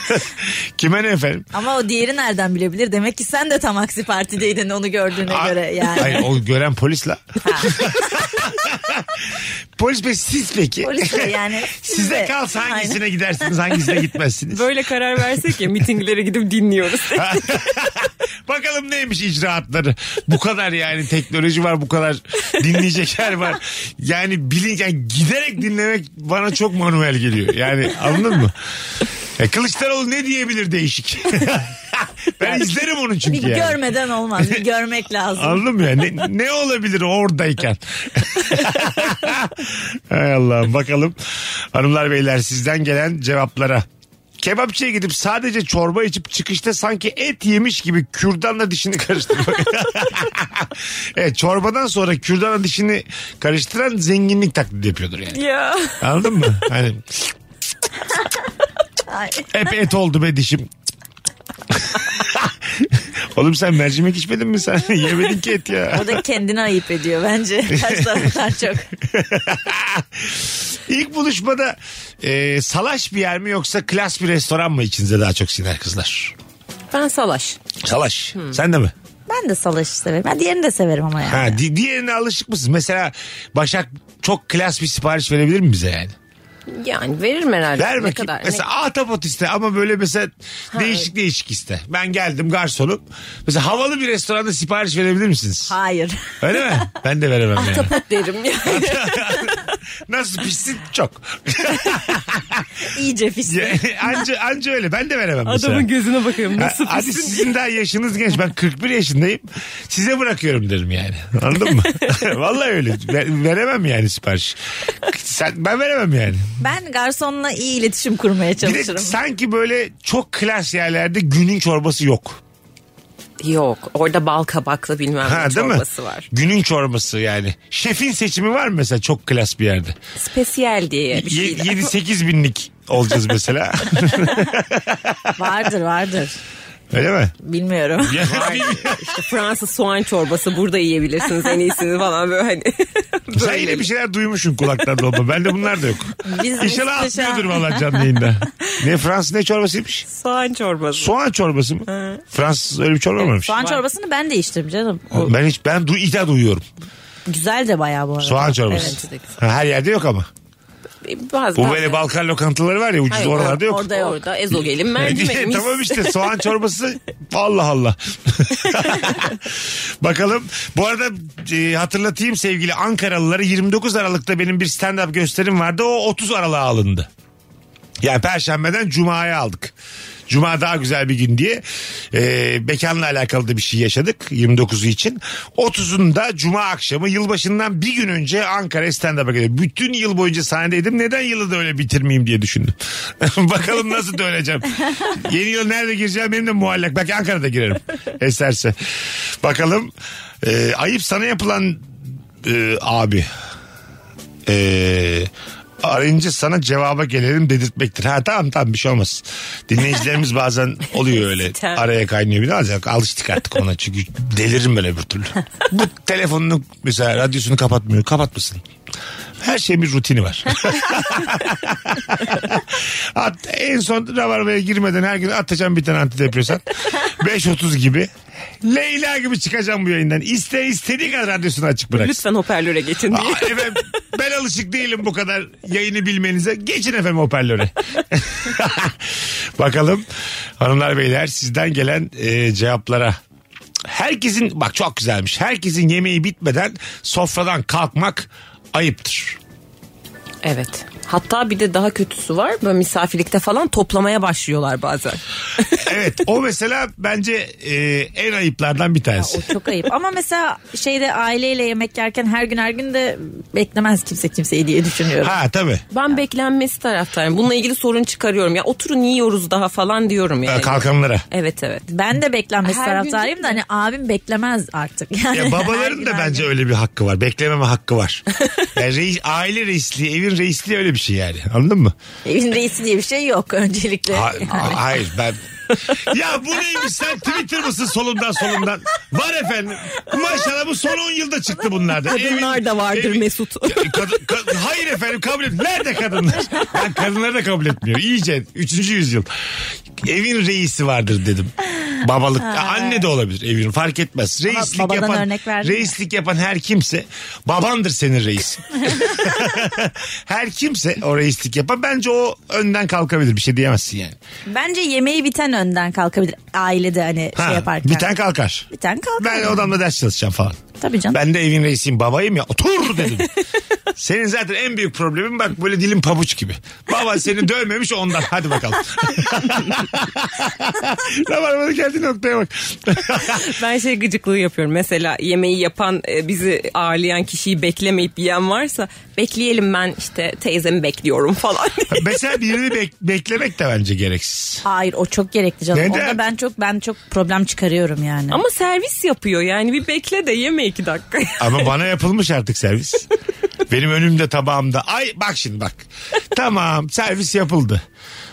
Kime ne efendim?
Ama o diğeri nereden bilebilir? Demek ki sen de tam aksi partideydin onu gördüğüne
A-
göre yani.
Hayır o gören polis la. polis bey siz peki?
Polis de yani. siz
Size
de-
kalsa hangisine
Aynen.
gidersiniz hangisine gitmezsiniz?
Böyle karar versek ya mitinglere gidip dinliyoruz.
Bakalım neymiş icraatları. Bu kadar yani teknoloji var bu kadar dinleyecekler var. Yani bilin yani giderek dinlemek bana çok manuel geliyor. Yani anladın mı? E, Kılıçdaroğlu ne diyebilir değişik. ben izlerim onu çünkü
Bir
yani.
görmeden olmaz. Bir görmek lazım.
Anladın mı ya? Ne, ne olabilir oradayken? Hay Allah'ım bakalım. Hanımlar beyler sizden gelen cevaplara. Kebapçıya gidip sadece çorba içip çıkışta sanki et yemiş gibi kürdanla dişini karıştırmak. evet çorbadan sonra kürdanla dişini karıştıran zenginlik taklidi yapıyordur yani.
ya.
Anladın mı? Hani
Ay.
hep et oldu be dişim. Oğlum sen mercimek içmedin mi sen? Yemedin ki et ya.
O da kendini ayıp ediyor bence. Karşı taraftan çok.
İlk buluşmada e, salaş bir yer mi yoksa klas bir restoran mı içinize daha çok siner kızlar?
Ben salaş.
Salaş. Sen de mi?
Ben de salaşı severim. Hmm. Ben diğerini de severim ama yani.
Ha, di- diğerine alışık mısın? Mesela Başak çok klas bir sipariş verebilir mi bize yani?
Yani veririm herhalde.
Ver
ne
bakayım.
kadar?
mesela ahtapot iste ama böyle mesela değişik değişik iste. Ben geldim garsonum. Mesela havalı bir restoranda sipariş verebilir misiniz?
Hayır.
Öyle mi? Ben de veremem yani.
Ne derim ya.
Nasıl pissin? Çok.
İyice fişti.
anca, anca öyle. Ben de veremem mesela.
Adamın gözüne bakıyorum. Nasıl
Ha, Hadi
pissin
sizin daha yaşınız genç. Ben 41 yaşındayım. Size bırakıyorum derim yani. Anladın mı? Vallahi öyle. Ver- veremem yani sipariş. Sen, ben veremem yani.
Ben garsonla iyi iletişim kurmaya
Bir de
çalışırım.
sanki böyle çok klas yerlerde günün çorbası yok.
Yok orada bal kabaklı bilmem
Ha,
ne
değil mi?
çorbası var.
Günün çorbası yani. Şefin seçimi var mı mesela çok klas bir yerde?
Spesiyel diye bir şey.
7-8 binlik olacağız mesela.
Vardır vardır.
öyle mi?
Bilmiyorum.
Ya,
İşte Fransız soğan çorbası burada yiyebilirsiniz en iyisini falan böyle hani.
Sen yine bir şeyler duymuşsun kulaktan dolma. Bende bunlar da yok.
Biz
İnşallah
biz-
atmıyordur valla canlı yayında. Ne Fransız ne çorbasıymış?
Soğan çorbası.
Soğan çorbası mı? Fransız öyle bir çorba mıymış?
Soğan çorbasını ben de içtim canım. O
Ben hiç ben du ilk defa duyuyorum.
güzel de bayağı bu arada.
Soğan çorbası.
Evet.
Ha, Her yerde yok ama.
Bazı
Bu böyle Balkan lokantaları var ya ucuz
Hayır,
oralarda yok.
Orada yok. Orada ezogelin mercimek.
tamam şey işte soğan çorbası Allah Allah. Bakalım. Bu arada e, hatırlatayım sevgili Ankaralıları 29 Aralık'ta benim bir stand-up gösterim vardı. O 30 Aralık'a alındı. Yani perşembeden cumaya aldık. Cuma daha güzel bir gün diye e, mekanla alakalı da bir şey yaşadık 29'u için. 30'unda cuma akşamı yılbaşından bir gün önce Ankara stand-up'a geliyor. Bütün yıl boyunca sahnedeydim. Neden yılı da öyle bitirmeyeyim diye düşündüm. Bakalım nasıl döneceğim. Yeni yıl nerede gireceğim benim de muallak. Belki Ankara'da girerim eserse. Bakalım e, ayıp sana yapılan e, abi e, arayınca sana cevaba gelelim dedirtmektir. Ha tamam tamam bir şey olmaz. Dinleyicilerimiz bazen oluyor öyle.
Sitem.
Araya kaynıyor bir de alıştık artık ona çünkü deliririm böyle bir türlü. Bu telefonunu mesela radyosunu kapatmıyor kapatmasın. Her şeyin bir rutini var. At, en son Rabarba'ya girmeden her gün atacağım bir tane antidepresan. 5.30 gibi. Leyla gibi çıkacağım bu yayından. İster istediği kadar radyosunu açık bıraksın.
Lütfen hoparlöre geçin diye.
Aa, efendim, ben alışık değilim bu kadar yayını bilmenize. Geçin efendim hoparlöre. Bakalım hanımlar beyler sizden gelen e, cevaplara. Herkesin bak çok güzelmiş. Herkesin yemeği bitmeden sofradan kalkmak ayıptır.
Evet. Hatta bir de daha kötüsü var. Böyle misafirlikte falan toplamaya başlıyorlar bazen.
Evet o mesela bence e, en ayıplardan bir tanesi.
O çok ayıp. Ama mesela şeyde aileyle yemek yerken her gün her gün de beklemez kimse kimseyi diye düşünüyorum.
Ha tabii.
Ben beklenmesi taraftarıyım. Bununla ilgili sorun çıkarıyorum. Ya oturun yiyoruz daha falan diyorum
Ha,
yani.
Kalkanlara.
Evet evet.
Ben de beklenmesi
Her gün
taraftarıyım da hani
değil
abim beklemez artık. Yani
Ya
her
babaların
gün
da
her
bence
gün.
öyle bir hakkı var. Beklememe hakkı var. Yani reis- aile reisliği, evin reisliği öyle bir şey yani. Anladın mı?
Evin reisi diye bir şey yok öncelikle.
Ha-
Yani.
ha- hayır ben... ya bu neymiş sen Twitter mısın solundan solundan? Var efendim. Maşallah bu son 10 yılda çıktı bunlardan.
Kadınlar
Evin-
da vardır
evin-
Mesut.
Ya, kadın- ka- hayır efendim kabul et. Nerede kadınlar? Ben kadınları da kabul etmiyor. İyice 3. yüzyıl. Evin reisi vardır dedim. Babalık anne de olabilir evin fark etmez. Reislik
babadan
yapan
örnek verdin
reislik yapan her kimse babandır senin reisin. her kimse o reislik yapan bence o önden kalkabilir bir şey diyemezsin yani.
Bence yemeği biten önden kalkabilir. Ailede hani
Ha,
şey yaparken.
Biten kalkar.
Biten kalkar.
Ben odamda ders çalışacağım falan.
Tabii canım.
Ben de evin reisiyim babayım ya otur dedim. senin zaten en büyük problemin bak böyle dilin pabuç gibi. Baba seni dövmemiş ondan hadi bakalım. Rabarba'nın geldiği noktaya bak.
Ben şey gıcıklığı yapıyorum. Mesela yemeği yapan e, bizi ağırlayan kişiyi beklemeyip yiyen varsa bekleyelim ben işte teyzemi bekliyorum falan.
Mesela birini bek- beklemek de bence gereksiz.
Hayır o çok gerekli canım.
Neden?
Onda ben çok ben çok problem çıkarıyorum yani.
Ama servis yapıyor yani bir bekle de yeme iki dakika.
Ama bana yapılmış artık servis. Benim önümde tabağımda. Ay bak şimdi bak. Tamam servis yapıldı.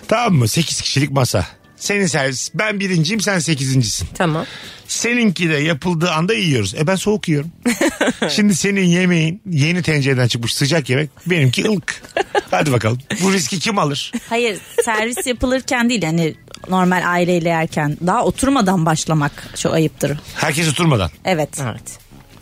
Tamam mı? 8 kişilik masa. Senin servis. Ben birinciyim sen sekizincisin.
tamam.
Seninki de yapıldığı anda yiyoruz. E ben soğuk yiyorum. Şimdi senin yemeğin yeni tencereden çıkmış sıcak yemek. Benimki ılık. Hadi bakalım. Bu riski kim alır?
Hayır servis yapılırken değil yani normal aileyle yerken daha oturmadan başlamak çok ayıptır.
Herkes oturmadan.
Evet.
Evet.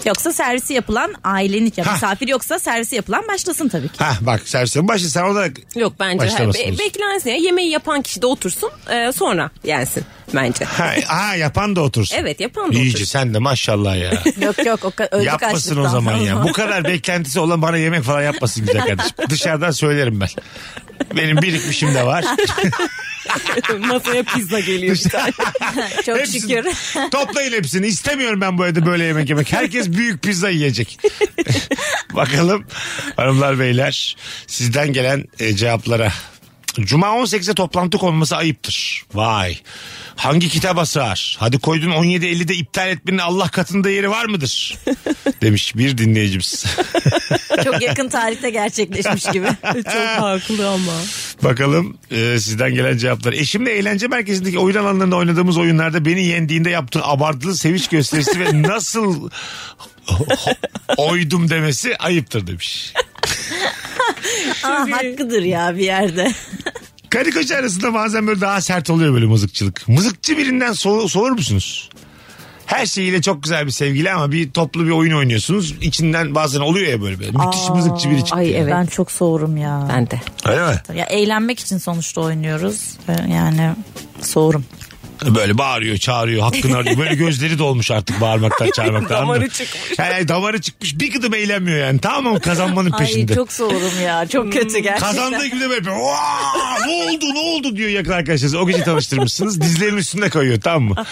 Yoksa servisi yapılan ailenin ya
Ha.
misafir yoksa servisi yapılan başlasın tabii ki.
Ha bak servisin başı sen orada
Yok bence he,
Başlamasınız.
be- beklensin ya. Yemeği yapan kişi de otursun e, sonra yensin bence.
ha, ha, yapan da otursun.
Evet, yapan da
İyice
otursun.
sen de maşallah ya.
yok yok o ka- öldük
Yapmasın o
açlıktan.
zaman ya. Bu kadar beklentisi olan bana yemek falan yapmasın güzel kardeşim. Dışarıdan söylerim ben. Benim birikmişim de var.
Masaya pizza geliyor bir tane.
çok
Hepsini-
şükür.
Toplayın hepsini. İstemiyorum ben bu evde böyle yemek yemek. Herkes büyük pizza yiyecek. Bakalım hanımlar beyler sizden gelen e, cevaplara. Cuma 18'e toplantı konması ayıptır. Vay. Hangi kitaba sığar? Hadi koydun 17.50'de iptal etmenin Allah katında yeri var mıdır? Demiş bir dinleyicimiz.
çok yakın tarihte gerçekleşmiş gibi.
Çok haklı ama.
Bakalım e, sizden gelen cevaplar. Eşimle eğlence merkezindeki oyun alanlarında oynadığımız oyunlarda beni yendiğinde yaptığı abartılı sevinç gösterisi ve nasıl oydum demesi ayıptır demiş.
Aa, hakkıdır ya bir yerde.
Karı koca arasında bazen böyle daha sert oluyor böyle mızıkçılık. Mızıkçı birinden so- soğur musunuz? Her şeyiyle çok güzel bir sevgili ama bir toplu bir oyun oynuyorsunuz. İçinden bazen oluyor ya böyle. böyle. Müthiş mızıkçı biri çıktı.
ay
yani.
evet.
Ben çok soğurum ya.
Ben de.
Öyle mi?
Ya eğlenmek için sonuçta oynuyoruz. Yani soğurum.
Böyle bağırıyor, çağırıyor, hakkını arıyor. Böyle gözleri dolmuş artık bağırmaktan, çağırmaktan.
Damarı
anladın mı?
çıkmış.
Yani damarı çıkmış. Bir gıdım eğlenmiyor yani. Tamam mı? Kazanmanın peşinde.
Ay çok soğurum ya. Çok kötü gerçekten.
Kazandığı gibi de böyle yapıyor. "Vaa! ne oldu ne oldu diyor yakın arkadaşlarınız. O gece tanıştırmışsınız. Dizlerinin üstüne koyuyor tamam mı?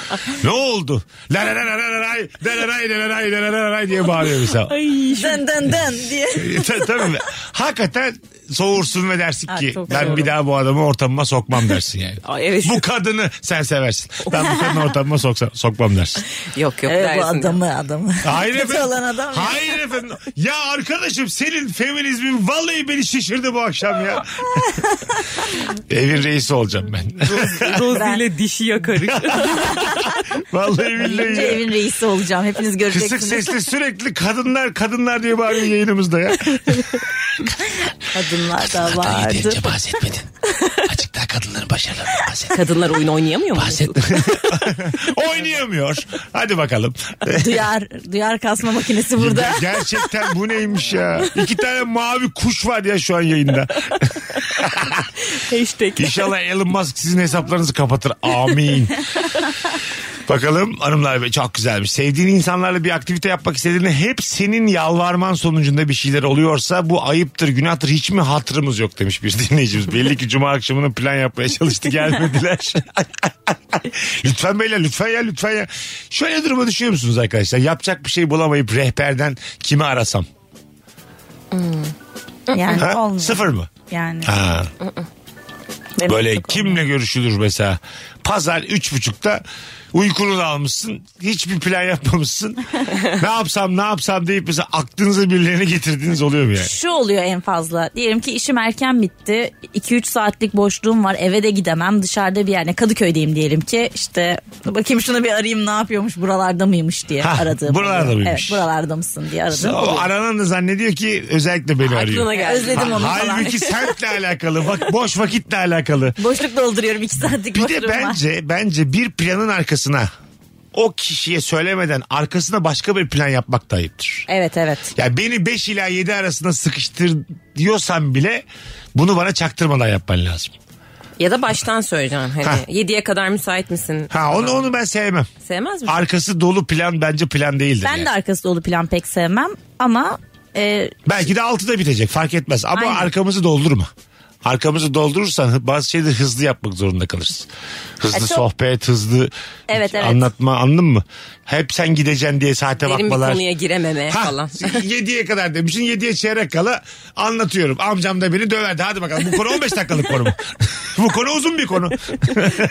ne oldu? La la la la la la lay, la la lay, la la lay, la la la lay diye bağırıyor mesela. E,
Dın dın dın diye.
Ta- Tabii. Hakikaten soğursun ve dersin
Ha,
ki
çok
ben
doğru.
bir daha bu adamı ortamıma sokmam dersin yani.
Ay, evet.
Bu kadını sen seversin. Ben bu kadını ortamıma soksa, sokmam dersin.
Yok yok
Evet, bu
dersin.
adamı adamı.
Hayır
Kötü
efendim.
olan adam ya.
Hayır efendim. Ya arkadaşım senin feminizmin vallahi beni şişirdi bu akşam ya. Evin reisi olacağım ben.
Rozi ile dişi yakarış.
vallahi billahi
Önce
ya.
evin reisi olacağım. Hepiniz göreceksiniz.
Kısık sesli sürekli kadınlar kadınlar diye bağırıyor yayınımızda ya.
Kadınlar da vardı.
bahsetmedin. Açık daha kadınların başarılarını bahset.
Kadınlar oyun oynayamıyor mu?
Oynayamıyor. Hadi bakalım.
Duyar, duyar kasma makinesi burada.
Ger- Gerçekten bu neymiş ya? İki tane mavi kuş var ya şu an yayında.
Hashtag.
İnşallah Elon Musk sizin hesaplarınızı kapatır. Amin. Bakalım hanımlar ve çok güzelmiş. Sevdiğin insanlarla bir aktivite yapmak istediğinde hep senin yalvarman sonucunda bir şeyler oluyorsa bu ayıptır, günahtır. Hiç mi hatırımız yok demiş bir dinleyicimiz. Belli ki cuma akşamını plan yapmaya çalıştı gelmediler. lütfen beyler lütfen ya lütfen ya. Şöyle duruma düşüyor musunuz arkadaşlar? Yapacak bir şey bulamayıp rehberden kimi arasam?
Yani
Ha?
olmuyor.
Sıfır mı?
Yani.
Ha.
Benim
Böyle
çok
kimle görüşülür mesela? Pazar üç buçukta uykunu da almışsın. Hiçbir plan yapmamışsın. ne yapsam ne yapsam deyip mesela aklınıza birilerini getirdiğiniz oluyor mu yani?
Şu oluyor en fazla. Diyelim ki işim erken bitti. 2-3 saatlik boşluğum var. Eve de gidemem. Dışarıda bir yerde Kadıköy'deyim diyelim ki. işte bakayım şunu bir arayayım ne yapıyormuş buralarda mıymış diye
Hah,
aradığım.
buralarda
oluyor.
mıymış.
Evet buralarda mısın diye aradığım.
O
oluyor.
aranan da zannediyor ki özellikle beni arıyor.
geldi. Özledim onu falan.
Halbuki senle alakalı, bak boş vakitle alakalı.
Boşluk dolduruyorum 2 saatlik
Bir
boşluğum
de
var.
bence bence bir planın arkasına o kişiye söylemeden arkasına başka bir plan yapmak da ayıptır.
Evet evet.
Ya beni 5 ila 7 arasında sıkıştır diyorsan bile bunu bana çaktırmadan yapman lazım.
Ya da baştan söyleyeceğim.
Ha.
Hani 7'ye kadar müsait misin?
Ha onu onu ben sevmem.
Sevmez misin?
Arkası dolu plan bence plan değildir.
Ben
yani.
de arkası dolu plan pek sevmem ama e,
Belki de 6'da bitecek fark etmez ama
Aynen.
arkamızı doldurma. Arkamızı doldurursan hı- bazı şeyleri hızlı yapmak zorunda kalırsın. Hızlı
E, çok-
sohbet, hızlı
Evet, evet.
anlatma anladın mı? Hep sen gideceksin diye saate
Derin bir
bakmalar.
konuya girememe
Ha,
falan.
7'ye kadar demişsin 7'ye çeyrek kala anlatıyorum. Amcam da beni döverdi hadi bakalım bu konu 15 dakikalık konu mu? bu konu uzun bir konu.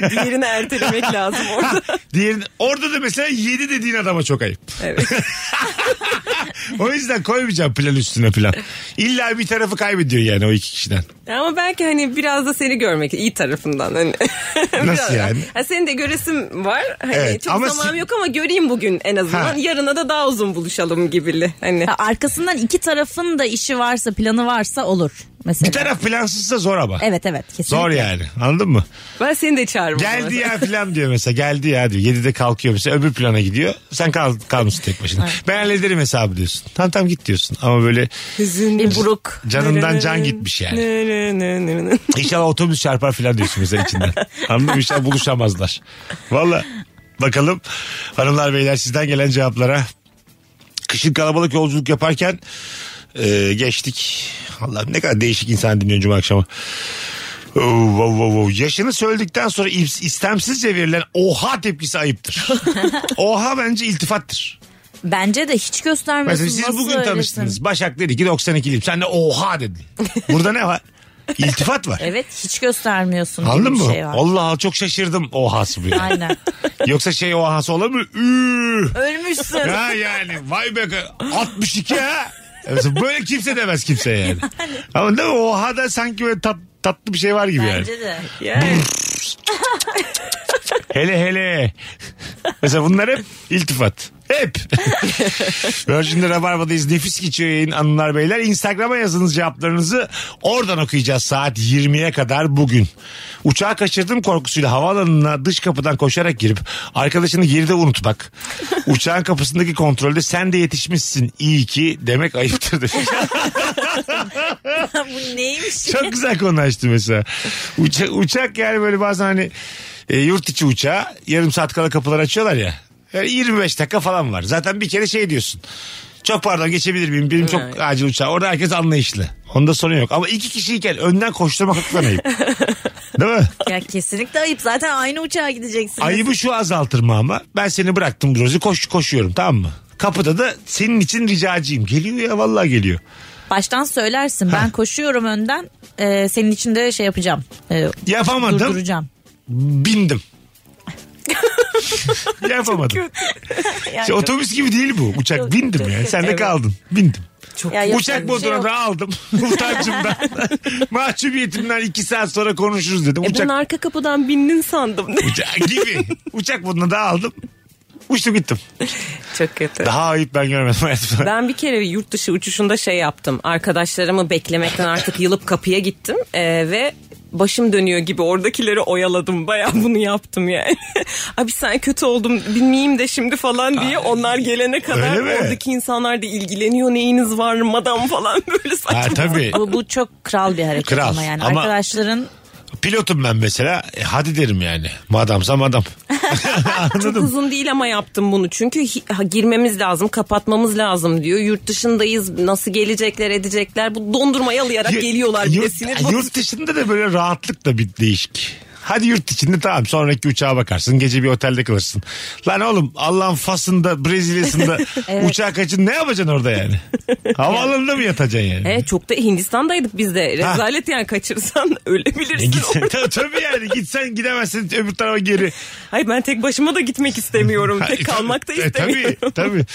Diğerini ertelemek lazım
Ha,
orada.
diğerin, orada da mesela 7 dediğin adama çok ayıp.
Evet.
O yüzden koymayacağım plan üstüne plan. İlla bir tarafı kaybediyor yani o iki kişiden.
Ama belki hani biraz da seni görmek iyi tarafından. Hani.
Nasıl yani?
Ha, senin de göresim var. Hani
Evet,
çok
ama
zamanım
si-
yok ama göreyim bugün en azından.
Ha.
Yarına da daha uzun buluşalım gibili. Hani.
ha, arkasından iki tarafın da işi varsa planı varsa olur. Mesela.
Bir taraf plansızsa zor ama.
Evet evet kesinlikle.
Zor yani anladın mı?
Ben seni de çağırmam.
Geldi ya filan diyor mesela geldi ya diyor. 7'de kalkıyor mesela öbür plana gidiyor. Sen kal, kalmışsın tek başına. Ben hallederim hesabı diyorsun. Tamam tamam git diyorsun ama böyle
E,
Bir buruk.
canından can gitmiş yani. İnşallah otobüs çarpar filan diyorsun mesela içinden. Anladın mı? İnşallah buluşamazlar. Valla bakalım hanımlar beyler sizden gelen cevaplara. Kışın kalabalık yolculuk yaparken e, geçtik. Allah ne kadar değişik insan dinliyorum cuma akşamı. Oo, wow, wow, wow. Yaşını söyledikten sonra is- istemsizce verilen oha tepkisi ayıptır. oha bence iltifattır.
Bence de hiç göstermiyorsun.
Mesela siz
Nasıl
bugün
öylesin?
tanıştınız. Başak dedi ki 92'liyim. Sen de oha dedin. Burada ne var? İltifat var.
Evet hiç göstermiyorsun. gibi
Anladın
bir
mı?
Şey var.
Allah çok şaşırdım ohası bu. yani.
Aynen.
Yoksa şey ohası olur mu? Üü.
Ölmüşsün.
ha yani vay be 62 ha. Mesela böyle kimse demez kimseye yani. Ama değil mi? Oha da sanki böyle tat, tatlı bir şey var gibi yani.
Bence de.
Hele hele. Mesela bunlar hep iltifat. Hep. Virgin'de Rabarba'dayız. Nefis geçiyor yayın hanımlar beyler. Instagram'a yazınız cevaplarınızı. Oradan okuyacağız saat 20'ye kadar bugün. Uçağı kaçırdım korkusuyla havaalanına dış kapıdan koşarak girip arkadaşını geride unutmak. Uçağın kapısındaki kontrolde sen de yetişmişsin iyi ki demek ayıptır demiş.
Bu neymiş?
Çok güzel konu açtı mesela. Uça- uçak yani böyle bazen hani e, yurt içi uçağı yarım saat kala kapılar açıyorlar ya. Yani 25 dakika falan var. Zaten bir kere şey diyorsun. Çok pardon geçebilir miyim? Benim çok acil uçağı. Orada herkes anlayışlı. Onda sorun yok. Ama iki kişiyken önden koşturmak hakikaten ayıp. Değil mi?
Ya kesinlikle ayıp. Zaten aynı uçağa gideceksin.
Ayıbı şu azaltırma ama. Ben seni bıraktım Rozi. Koş, koşuyorum tamam mı? Kapıda da senin için ricacıyım. Geliyor ya vallahi geliyor.
Baştan söylersin. Ben koşuyorum önden. Ee, senin için de şey yapacağım. Ee,
Yapamadım.
Durduracağım.
bindim. Yapamadım. Şey, otobüs gibi değil bu. Uçak bindim ya. Sen de kaldın. Bindim.
Ya yok,
Uçak
yani bir şey
moduna
yok.
da aldım. Utancımdan. Mahcubiyetimden iki saat sonra konuşuruz dedim.
E ben
Uçak
arka kapıdan bindin sandım.
Uça- gibi. Uçak moduna da aldım. Uçtum gittim.
Çok kötü.
Daha ayıp ben görmedim hayatımda.
Ben bir kere yurt dışı uçuşunda şey yaptım. Arkadaşlarımı beklemekten artık yılıp kapıya gittim Ee, ve başım dönüyor gibi oradakileri oyaladım. Bayağı bunu yaptım yani. Abi sen kötü oldum bilmeyeyim de şimdi falan diye onlar gelene kadar
öyle mi?
oradaki insanlar da ilgileniyor neyiniz var madam falan böyle
Ha
saçma.
tabii.
Bu, bu çok kral bir hareket
Kral.
ama yani.
Ama-
Arkadaşların
Pilotum ben mesela. E, hadi derim yani. Madamsa madam.
Çok uzun değil ama yaptım bunu. Çünkü hi- ha, girmemiz lazım, kapatmamız lazım diyor. Yurt dışındayız. Nasıl gelecekler, edecekler? Bu dondurmayı alayarak
Yurt-
geliyorlar. bir de
Yurt,
sinir
yurt dışında da böyle rahatlık da bir değişik. Hadi yurt içinde tamam sonraki uçağa bakarsın. Gece bir otelde kalırsın. Lan oğlum Allah'ın Fas'ında Brezilya'sında
Evet.
uçağa kaçın ne yapacaksın orada yani? Havaalanında mı yatacaksın yani?
Evet E, çok da Hindistan'daydık biz de.
Ha.
Rezalet yani kaçırırsan
E
ölebilirsin.
gitsen, tabii, tabii yani gitsen gidemezsin öbür tarafa geri.
Hayır ben tek başıma da gitmek istemiyorum. Tek kalmak da
E,
istemiyorum.
tabii tabii.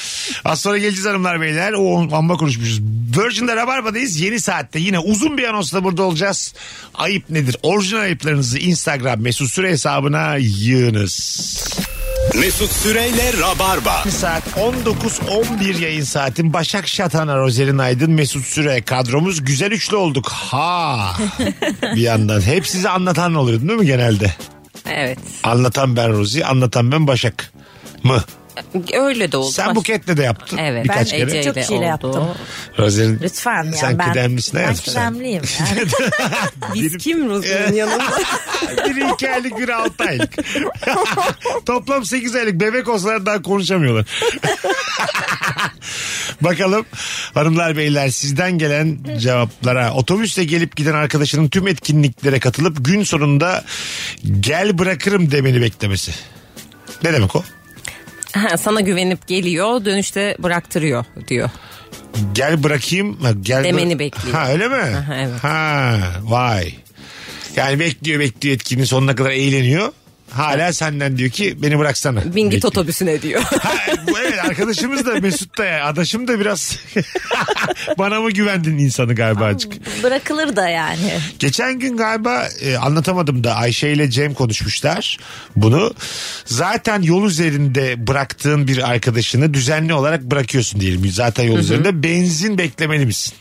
Az sonra geleceğiz hanımlar beyler. O amma konuşmuşuz. Virgin'de Rabarba'dayız. Yeni saatte yine uzun bir anonsla burada olacağız. Ayıp nedir? Orijinal ayıplarınızı Instagram mesut süre hesabına yığınız.
Mesut Süreyle Rabarba.
Saat 19.11 yayın saatin Başak Şatana, Rozerin Aydın, Mesut Süre kadromuz güzel üçlü olduk. Ha bir yandan. Hep size anlatan oluyordu değil mi genelde?
Evet.
Anlatan ben Rozi, anlatan ben Başak mı?
Öyle de oldu.
Sen
Baş-
buketle de yaptın
Evet.
birkaç
ben
kere.
Ece
Çok
ile
kişiyle
oldu.
yaptım.
Rozerin
Lütfen ya.
Sen
ben,
kıdemlisin
Ben
hayatım sen.
kıdemliyim. ya.
Biz kim Ruzu'nun yanında?
biri iki aylık biri altı aylık. Toplam sekiz aylık bebek olsalar daha konuşamıyorlar. Bakalım hanımlar beyler sizden gelen cevaplara. Otobüsle gelip giden arkadaşının tüm etkinliklere katılıp gün sonunda gel bırakırım demeni beklemesi. Ne demek o?
Ha, sana güvenip geliyor dönüşte bıraktırıyor diyor.
Gel bırakayım. ha, Gel
Demeni
bıra-
bekliyor.
Ha öyle mi?
Aha, evet.
Ha vay. Yani bekliyor bekliyor etkinin sonuna kadar eğleniyor. Hala senden diyor ki beni bıraksana.
Bin git
Bekliyor.
otobüsüne diyor.
Ha, bu evet arkadaşımız da Mesut da yani. Adaşım da biraz bana mı güvendin insanı galiba azıcık.
Bırakılır da yani.
Geçen gün galiba e, anlatamadım da Ayşe ile Cem konuşmuşlar bunu. Zaten yol üzerinde bıraktığın bir arkadaşını düzenli olarak bırakıyorsun diyelim. Zaten yol üzerinde benzin beklemeli misin?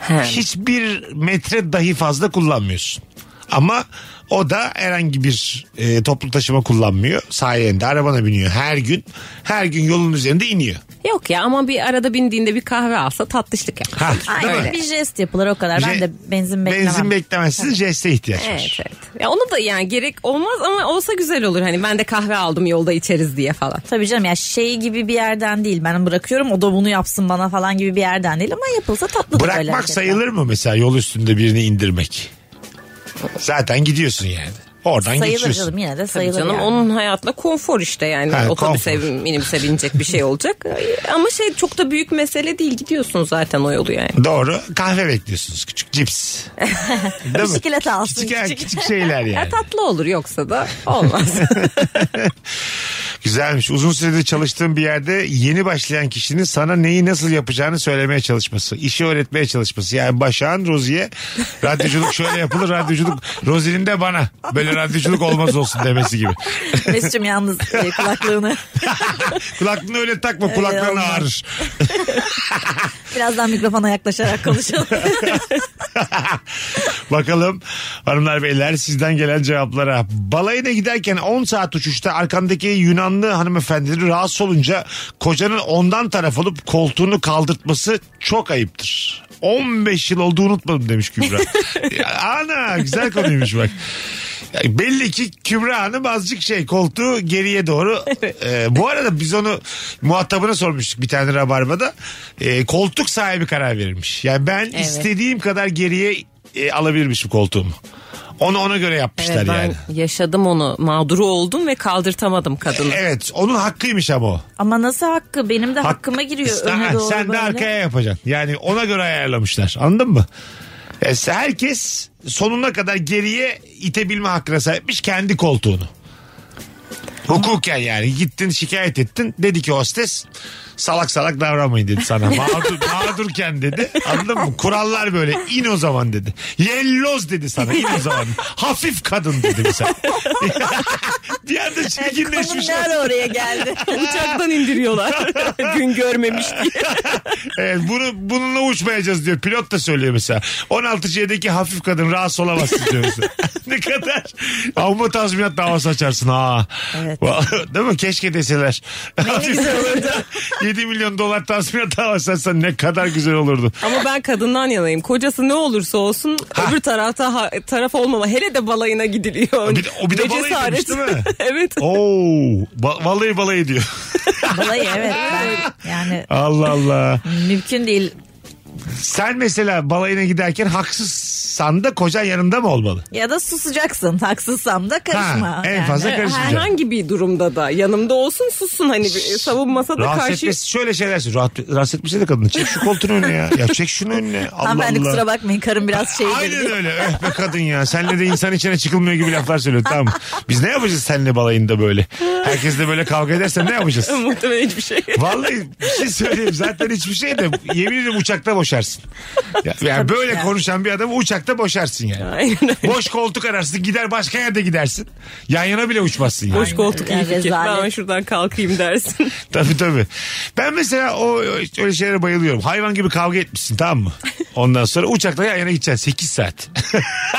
Ha,
Hiçbir metre dahi fazla kullanmıyorsun. Ama o da herhangi bir e, toplu taşıma kullanmıyor. Sayende arabana biniyor her gün. Her gün yolun üzerinde iniyor.
Yok ya ama bir arada bindiğinde bir kahve alsa tatlışlık yapar.
Ha,
Aynen.
değil mi?
Bir jest yapılır o kadar. Ben
Je-
de benzin beklemem.
Benzin beklemezsiniz jeste ihtiyaç var.
Evet evet. Ya onu da yani gerek olmaz ama olsa güzel olur. Hani ben de kahve aldım yolda içeriz diye falan.
Tabii canım ya şey gibi bir yerden değil. Ben bırakıyorum o da bunu yapsın bana falan gibi bir yerden değil ama yapılsa tatlı da böyle
Bırakmak
hareketler.
sayılır mı mesela yol üstünde birini indirmek? Zaten gidiyorsun yani. Oradan
Sayılır
geçiyorsun.
canım yine de
Tabii
sayılır
canım
yani.
onun hayatla konfor işte yani
Ha,
otobüse
konfor.
minibüse binecek bir şey olacak. Ama şey çok da büyük mesele değil gidiyorsun zaten o yolu yani.
Doğru. Kahve bekliyorsunuz. Küçük cips. Değil mi?
Bisiklet alsın,
Küçük,
küçük.
küçük şeyler
Ya
yani.
tatlı olur yoksa da olmaz.
Güzelmiş. Uzun süredir çalıştığım bir yerde yeni başlayan kişinin sana neyi nasıl yapacağını söylemeye çalışması. işi öğretmeye çalışması. Yani Başak'ın Rozi'ye radyoculuk şöyle yapılır. Radyoculuk Rozi'nin de bana. Böyle radyoculuk olmaz olsun demesi gibi.
Mesut'cum yalnız e, kulaklığını
Kulaklığını öyle takma kulakların
olmaz.
ağrır.
birazdan mikrofona yaklaşarak konuşalım.
Bakalım hanımlar beyler sizden gelen cevaplara. Balayına giderken 10 saat uçuşta arkandaki Yunanlı hanımefendinin rahatsız olunca kocanın ondan taraf olup koltuğunu kaldırtması çok ayıptır. 15 yıl oldu unutmadım demiş Kübra. Ya, Ana güzel konuymuş bak. Ya, Belli ki Kübra Hanım azıcık şey koltuğu geriye doğru. Ee, bu arada biz onu muhatabına sormuştuk bir tane rabarbada. Ee, koltuk sahibi karar verilmiş. Yani ben istediğim kadar geriye e, alabilirmiş bu koltuğumu. Onu ona göre yapmışlar
Evet, ben
yani.
yaşadım onu mağduru oldum ve kaldırtamadım kadını.
Evet onun hakkıymış ama o.
ama nasıl hakkı? Benim de
Hak-
hakkıma giriyor.
İşte,
öne
ha,
doğru
sen de
böyle.
arkaya yapacaksın. Yani ona göre ayarlamışlar. Anladın mı? E, herkes sonuna kadar geriye itebilme hakkına sahipmiş kendi koltuğunu. Hukuken yani gittin şikayet ettin dedi ki hostes salak salak davranmayın dedi sana mağdur, mağdurken dedi anladın mı kurallar böyle in o zaman dedi yelloz dedi sana in o zaman hafif kadın dedi mesela bir anda çirkinleşmiş
Konu nerede oraya geldi?
Uçaktan indiriyorlar. Gün görmemiş diye.
Evet, bunu bununla uçmayacağız diyor. Pilot da söylüyor mesela. 16C'deki hafif kadın rahatsız olamazsın diyor mesela. ne kadar avma tazminat davası açarsın ha.
Evet.
Vallahi- Değil mi? Keşke deseler. Hafif kadın 7 milyon dolar tazminat davası açsan ne kadar güzel olurdu.
Ama ben kadından yanayım. Kocası ne olursa olsun öbür tarafta ha- taraf olmama. Hele de balayına gidiliyor.
Bir de- o bir de
Ne
balayı demiş,
cesaret.
değil mi?
evet.
Oo, ba- vallahi balayı diyor.
Balayı evet. Ben, yani
Allah Allah.
mümkün değil.
Sen mesela balayına giderken haksız haksızsan da kocan yanında mı olmalı?
Ya da susacaksın. Haksızsam da karışma.
Ha, en fazla
Yani.
karışmayacak.
E, Herhangi bir durumda da yanımda olsun sussun hani bir savunmasa da
Rahatsız
karşı
etmesi şöyle şeyler söylüyor. Rahat, rahatsız etmesi de kadını. Çek şu koltuğun önüne ya. Ya çek şunu önüne. Allah
Ama ben de
Allah.
kusura bakmayın karım biraz şey
Aynen öyle. Öh be kadın ya. Senle de insan içine çıkılmıyor gibi laflar söylüyor. Tamam. Biz ne yapacağız seninle balayında böyle? Herkesle böyle kavga edersen ne yapacağız?
muhtemelen hiçbir şey.
Vallahi bir şey söyleyeyim zaten hiçbir şey de yemin ederim uçakta boşarsın. Ya, yani böyle konuşan bir adamı uçakta boşarsın yani.
Aynen öyle.
Boş koltuk ararsın gider başka yerde gidersin. Yan yana bile uçmazsın yani.
Boş koltuk iyi
Yani
fikir.
rezalet.
Ben şuradan kalkayım dersin.
Tabii tabii. Ben mesela o öyle şeylere bayılıyorum. Hayvan gibi kavga etmişsin tamam mı? Ondan sonra uçakta yan yana gideceksin 8 saat.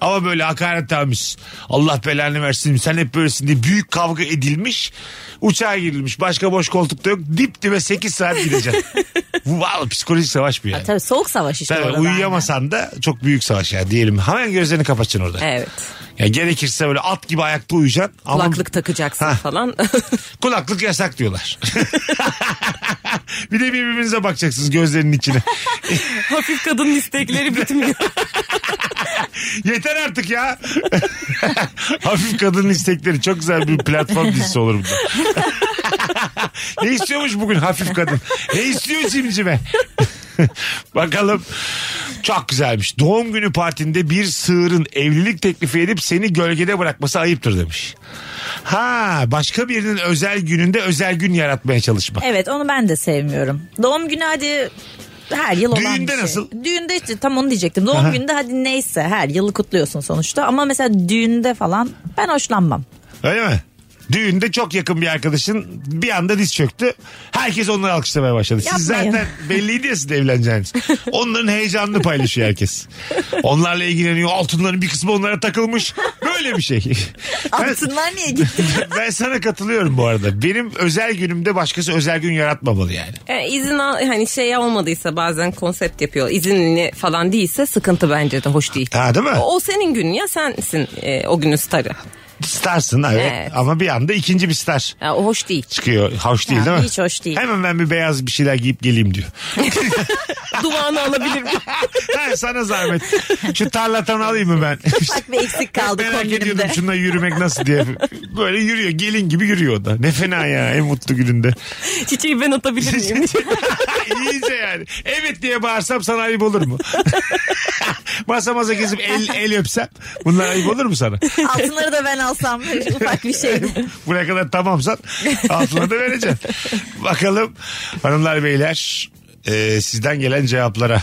Ama böyle hakaret almış. Allah belanı versin sen hep böylesin diye büyük kavga edilmiş. Uçağa girilmiş. Başka boş koltukta yok. Dip dibe 8 saat gideceksin. Bu vallahi psikolojik savaş bu yani.
Tabii soğuk savaş işte
Tabii,
orada.
uyuyamasan da çok büyük savaş yani diyelim. Hemen gözlerini kapatacaksın orada.
Evet.
Ya gerekirse böyle at gibi ayakta uyuyacaksın. Ama
Kulaklık takacaksın
Ha.
falan.
Kulaklık yasak diyorlar. bir de birbirinize bakacaksınız gözlerinin içine.
Hafif kadının istekleri bitmiyor.
Yeter artık ya. Hafif kadının istekleri çok güzel bir platform dizisi olur bunda. ne istiyormuş bugün hafif kadın? Ne istiyor cimcime? Bakalım. Çok güzelmiş. Doğum günü partinde bir sığırın evlilik teklifi edip seni gölgede bırakması ayıptır demiş. Ha başka birinin özel gününde özel gün yaratmaya çalışmak.
Evet onu ben de sevmiyorum. Doğum günü hadi her yıl olan
Düğünde
bir şey.
nasıl?
Düğünde işte tam onu diyecektim. Doğum
Aha.
gününde hadi neyse her yılı kutluyorsun sonuçta. Ama mesela düğünde falan ben hoşlanmam.
Öyle mi? Düğünde çok yakın bir arkadaşın bir anda diz çöktü. Herkes onları alkışlamaya başladı. Siz
Yapmayın.
zaten belliydi ya sizin evleneceğiniz. Onların heyecanını paylaşıyor herkes. Onlarla ilgileniyor. Altınların bir kısmı onlara takılmış. Böyle bir şey. Ben,
Altınlar niye gitti?
ben sana katılıyorum bu arada. Benim özel günümde başkası özel gün yaratmamalı yani.
E, izin al, hani şey olmadıysa bazen konsept yapıyor. İzinli falan değilse sıkıntı bence de hoş değil.
Ha değil mi?
Oh.
O, o senin günün ya sensin e, o günün starı.
Starsın evet.
Evet.
Ama bir anda ikinci bir star.
Ya, o hoş değil.
çıkıyor. Hoş değil
Ya,
değil mi?
hiç hoş değil.
Hemen ben bir beyaz bir şeyler giyip geleyim diyor.
Duvağını alabilir miyim?
Ha, sana zahmet. Şu tarlatan alayım mı ben?
Bak bir eksik kaldı
Merak ediyordum
kombinimde.
şununla yürümek nasıl diye. Böyle yürüyor gelin gibi yürüyor o da. Ne fena ya en mutlu gününde.
Çiçeği ben atabilir miyim?
İyice yani. Evet diye bağırsam sana ayıp olur mu? masa masa gezip el, el öpsem bunlar ayıp olur mu sana?
Altınları da ben alsam ufak bir şey.
Buraya kadar tamamsan altına da vereceğim. Bakalım hanımlar beyler e, sizden gelen cevaplara.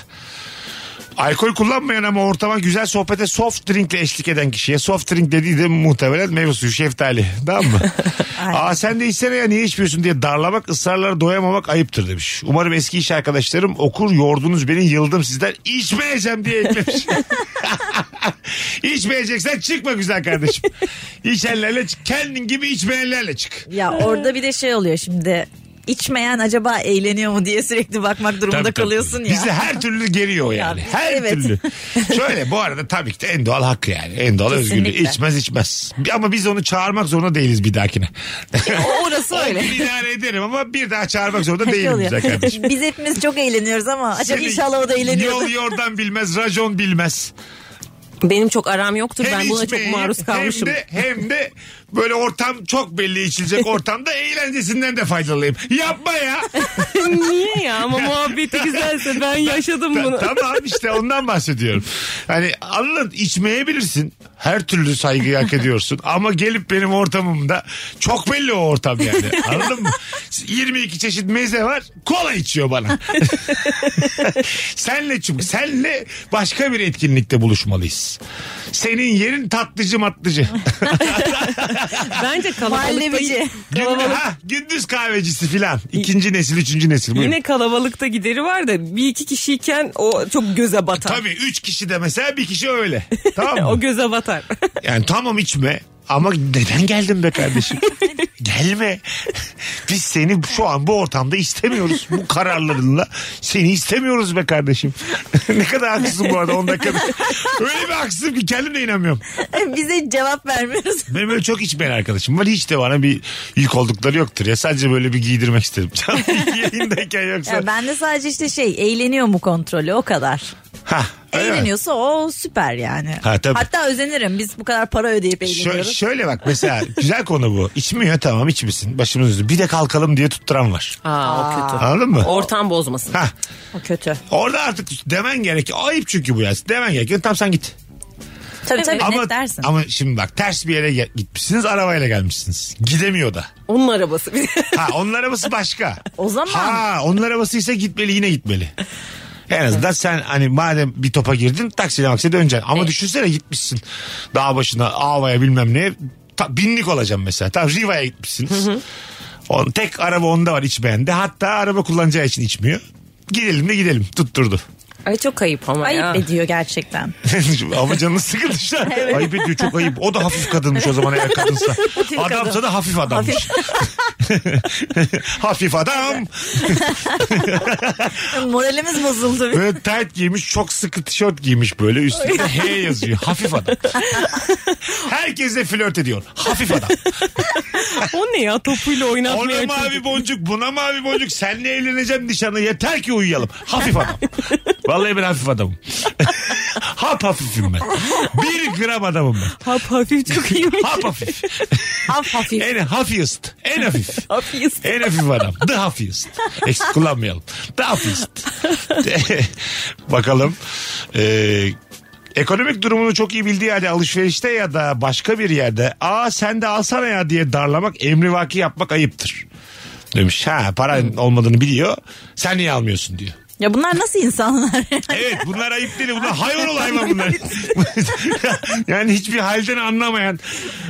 Alkol kullanmayan ama ortama güzel sohbete soft drinkle eşlik eden kişiye soft drink dediği de muhtemelen meyve suyu şeftali. Tamam mı? Aa sen de içsene ya niye içmiyorsun diye darlamak ısrarlara doyamamak ayıptır demiş. Umarım eski iş arkadaşlarım okur yordunuz beni yıldım sizden içmeyeceğim diye eklemiş. İçmeyeceksen çıkma güzel kardeşim. İçenlerle çık. Kendin gibi içmeyenlerle çık.
Ya orada bir de şey oluyor şimdi. İçmeyen acaba eğleniyor mu diye sürekli bakmak durumunda
Tabii, tabii.
kalıyorsun ya.
Bizi her türlü geriyor yani.
biz-
her
evet.
türlü. Şöyle bu arada tabii ki de en doğal hakkı yani. En doğal özgürlüğü.
Kesinlikle.
İçmez içmez. Ama biz onu çağırmak zorunda değiliz bir dahakine.
Orası E, öyle.
Bir idare ederim ama bir daha çağırmak zorunda
Şey
değilim
oluyor.
güzel kardeşim.
Biz hepimiz çok eğleniyoruz ama acaba
Seni
inşallah o da
Yol
eğleniyor.
yordan bilmez, racon bilmez.
Benim çok aram yoktur.
Hem
ben buna
içmeyi,
çok maruz kalmışım.
Hem de, hem de böyle ortam çok belli içilecek ortamda eğlencesinden de faydalanayım. Yapma ya.
Niye ya? Ama muhabbeti güzelse ben yaşadım
Ta-
bunu.
tamam işte ondan bahsediyorum. Hani anladın içmeyebilirsin. Her türlü saygıyı hak ediyorsun. Ama gelip benim ortamımda çok belli o ortam yani. Anladın mı? 22 çeşit meze var. Kola içiyor bana. senle çünkü senle başka bir etkinlikte buluşmalıyız. Senin yerin tatlıcı matlıcı.
Bence kalabalıkta,
Mahallebici.
Gündüz, ha, gündüz kahvecisi filan. İkinci nesil, üçüncü nesil. Buyurun.
yine kalabalıkta gideri var da bir iki kişiyken o çok göze batar.
Tabii üç kişi de mesela bir kişi öyle. Tamam mı?
O göze batar.
Yani tamam içme ama neden geldin be kardeşim? Gelme. Biz seni şu an bu ortamda istemiyoruz. Bu kararlarınla seni istemiyoruz be kardeşim. ne kadar haksızsın bu arada 10 dakikada. Öyle bir haksızım ki kendim de inanmıyorum.
Bize cevap vermiyoruz.
Benim öyle çok içmeyen arkadaşım var. Hiç de bana bir yük oldukları yoktur ya. Sadece böyle bir giydirmek istedim. Canlı yayındayken yoksa.
Ya ben de sadece işte şey eğleniyor mu kontrolü o kadar.
Ha, öyle mi?
Eğleniyorsa o süper yani.
Ha, tabii.
Hatta özenirim biz bu kadar para ödeyip
Şö-
eğleniyoruz.
şöyle bak mesela güzel konu bu. İçmiyor tamam içmesin. Başımız üstü. Bir de kalkalım diye tutturan var.
Aa, o kötü.
Anladın mı?
Ortam bozmasın.
Hah.
O kötü.
Orada artık demen gerek. Ayıp çünkü bu ya. Demen gerek. Tamam sen git.
Tabii tabii
ama,
net dersin.
ama şimdi bak ters bir yere ge- gitmişsiniz arabayla gelmişsiniz. Gidemiyor da.
Onun arabası. bir de.
Ha onun arabası başka.
O zaman-
Ha onun arabası ise gitmeli yine gitmeli. En azından sen hani madem bir topa girdin taksiyle maksiyle döneceksin. Ama düşünsene gitmişsin dağ başına avaya bilmem ne. Ta, binlik olacağım mesela. Tam Riva'ya gitmişsiniz. On, tek araba onda var içmeyen de. Hatta araba kullanacağı için içmiyor. Gidelim de gidelim. Tutturdu.
Ay e, çok ayıp ama ya.
Ayıp ediyor gerçekten.
Ama canını sıkıldı işte. Ayıp ediyor çok ayıp. O da hafif kadınmış o zaman eğer kadınsa. Adamsa da hafif adammış. hafif adam.
Moralimiz bozuldu.
Böyle tight giymiş çok sıkı tişört giymiş böyle üstünde H yazıyor. Hafif adam. Herkesle flört ediyor. Hafif adam.
O ne ya topuyla
Ona
oynatmaya
mavi boncuk buna mavi boncuk. Seninle evleneceğim nişanı yeter ki uyuyalım. Hafif adam. Vallahi ben hafif adamım. Hap hafifim ben. Bir gram adamım ben.
Hap hafif çok iyiymiş.
Hap hafif.
Hap hafif.
En hafifist. En hafif.
Hafif.
En hafif adam. The hafifist. Eksik kullanmayalım. The hafifist. Bakalım. Ee, ekonomik durumunu çok iyi bildiği halde alışverişte ya da başka bir yerde aa sen de alsana ya diye darlamak emrivaki yapmak ayıptır. Demiş ha
Hmm.
paran olmadığını biliyor sen niye almıyorsun diyor.
Ya bunlar nasıl insanlar?
Evet bunlar ayıp değil. Bunlar hayvan ol hayvan bunlar. yani hiçbir halden anlamayan.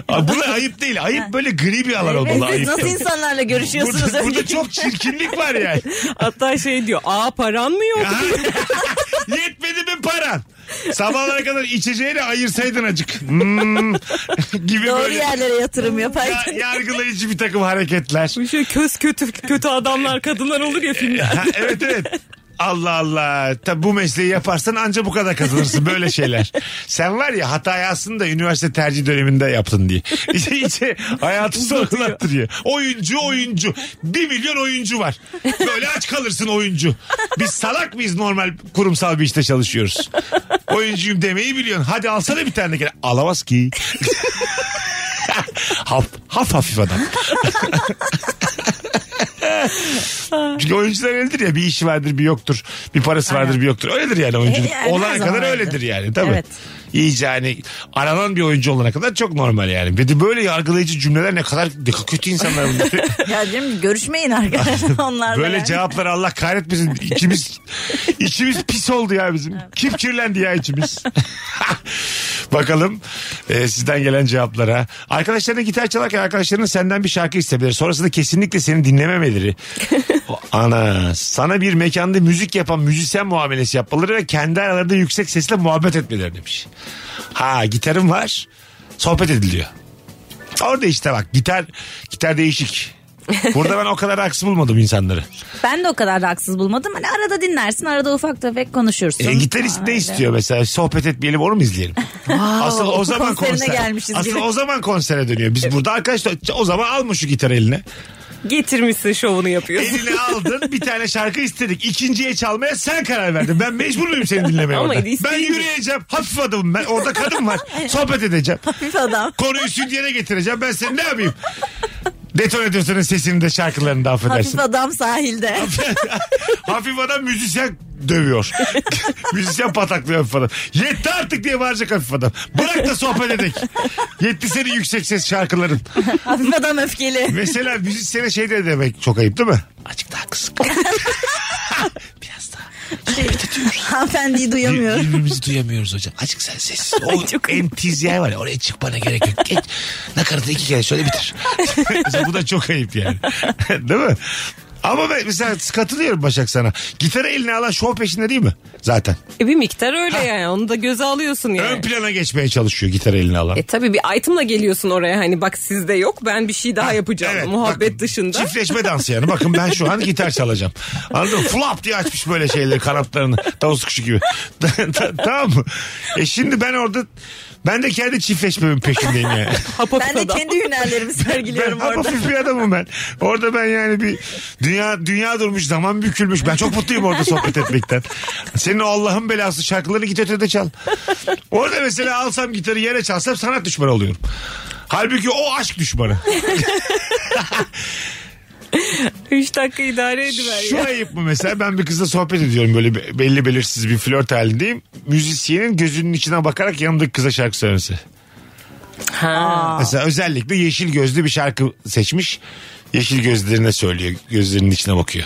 Aa, Bunlar ayıp değil. Ayıp böyle gri bir alan olmalı.
Siz
Ayıp.
nasıl insanlarla görüşüyorsunuz?
Burada, burada
Önceki-
çok çirkinlik var yani.
Hatta şey diyor. Aa paran mı yok?
Ha? Yetmedi mi paran? Sabahlara kadar içeceğini ayırsaydın acık. Hmm, gibi
Doğru
böyle
yerlere yatırım
ya-
yapaydın.
yargılayıcı bir takım hareketler.
Bu şey köz kötü kötü adamlar kadınlar olur ya filmlerde.
Ha, evet evet. Allah Allah. Tabi bu mesleği yaparsan anca bu kadar kazanırsın böyle şeyler. Sen var ya hatayı aslında üniversite tercih döneminde yaptın diye. İşte, işte hayatı sorgulattırıyor. Oyuncu oyuncu. Bir milyon oyuncu var. Böyle aç kalırsın oyuncu. Biz salak mıyız normal kurumsal bir işte çalışıyoruz. Oyuncuyum demeyi biliyorsun. Hadi alsana bir tane. kere. Alamaz ki. haf, haf hafif adam. Çünkü oyuncular öyledir ya bir işi vardır bir yoktur. Bir parası vardır bir yoktur. Öyledir yani oyunculuk.
E, yani her
olana
zaman
kadar
öyledir.
öyledir yani tabii.
Evet.
İyice hani aranan bir oyuncu olana kadar çok normal yani. Bir de böyle yargılayıcı cümleler ne kadar ne kadar kötü insanlar bunlar.
Ya canım görüşmeyin arkadaşlar onlarla.
Böyle
yani.
cevapları Allah kahretmesin. İkimiz, içimiz pis oldu ya bizim. Kim kirlendi ya içimiz? Bakalım e, sizden gelen cevaplara. Arkadaşlarına gitar çalarken arkadaşların senden bir şarkı istebilir. Sonrasında kesinlikle seni dinlememeleri. O- Ana sana bir mekanda müzik yapan müzisyen muamelesi yapmaları ve kendi aralarında yüksek sesle muhabbet etmeleri demiş. Ha gitarım var sohbet ediliyor. Orada işte bak gitar gitar değişik. Burada ben o kadar haksız bulmadım insanları.
Ben de o kadar da haksız bulmadım. Hani arada dinlersin arada ufak tefek konuşursun.
E, gitarist
Aa,
ne
öyle.
istiyor mesela? Sohbet etmeyelim onu mu izleyelim? Asıl o zaman
konserine
konser.
gelmişiz
Asıl
gibi.
o zaman konsere dönüyor. Biz burada arkadaşlar o zaman almış şu gitarı eline.
Getirmişsin şovunu yapıyorsun.
Eline aldın bir tane şarkı istedik. İkinciye çalmaya sen karar verdin. Ben mecbur muyum seni dinlemeye
Ama
orada? Ben
isteğin-
yürüyeceğim. Hafif adamım ben. Orada kadın var. Sohbet edeceğim.
Hafif adam.
Konuyu stüdyoya getireceğim. Ben seni ne yapayım? Detonatörün sesini de şarkılarını da affedersin.
Hafif adam sahilde.
Hafif adam müzisyen dövüyor. müzisyen pataklıyor hafif adam. Yetti artık diye bağıracak hafif adam. Bırak da sohbet edek. Yetti senin yüksek ses şarkıların.
Hafif adam öfkeli.
Mesela müzisyene şey de demek çok ayıp değil mi? Açık daha kısık. Biraz daha. Şey,
Hanımefendiyi
Bir-
duyamıyorum.
Birbirimizi duyamıyoruz hocam. Açık sen sessiz. O entizyen var ya oraya çıkmana gerek yok. Geç. Nakaratı iki kere şöyle bitir. Mesela bu da çok ayıp yani. değil mi? Ama ben mesela katılıyorum Başak sana. Gitarı eline alan şov peşinde değil mi? Zaten.
E, bir miktar öyle yani. Onu da göze alıyorsun yani.
Ön plana geçmeye çalışıyor gitar eline alan.
E tabii bir itemla geliyorsun oraya hani bak sizde yok ben bir şey daha yapacağım
Evet,
muhabbet
bakın,
dışında.
Çiftleşme dansı yani. Bakın ben şu an gitar çalacağım. Anladın mı? Flap diye açmış böyle şeyleri kanatlarını. Tavus kuşu gibi. Ta- tamam mı? E şimdi ben orada ben de kendi çiftleşmemin peşindeyim yani.
Hapapıt
Ben de
adam.
kendi hünerlerimi
ben
sergiliyorum
hafif
orada.
bir adamım ben. Orada ben yani bir Dünya dünya durmuş zaman bükülmüş. Ben çok mutluyum orada sohbet etmekten. Senin o Allah'ın belası şarkıları git ötede çal. Orada mesela alsam gitarı yere çalsam sanat düşmanı oluyorum. Halbuki o aşk düşmanı.
3 dakika idare ediver
Şu ayıp mı mesela ben bir kızla sohbet ediyorum böyle be- belli belirsiz bir flört halindeyim. Müzisyenin gözünün içine bakarak yanındaki kıza şarkı söylemesi.
Ha.
Mesela özellikle yeşil gözlü bir şarkı seçmiş. Yeşil gözlerine söylüyor. Gözlerinin içine bakıyor.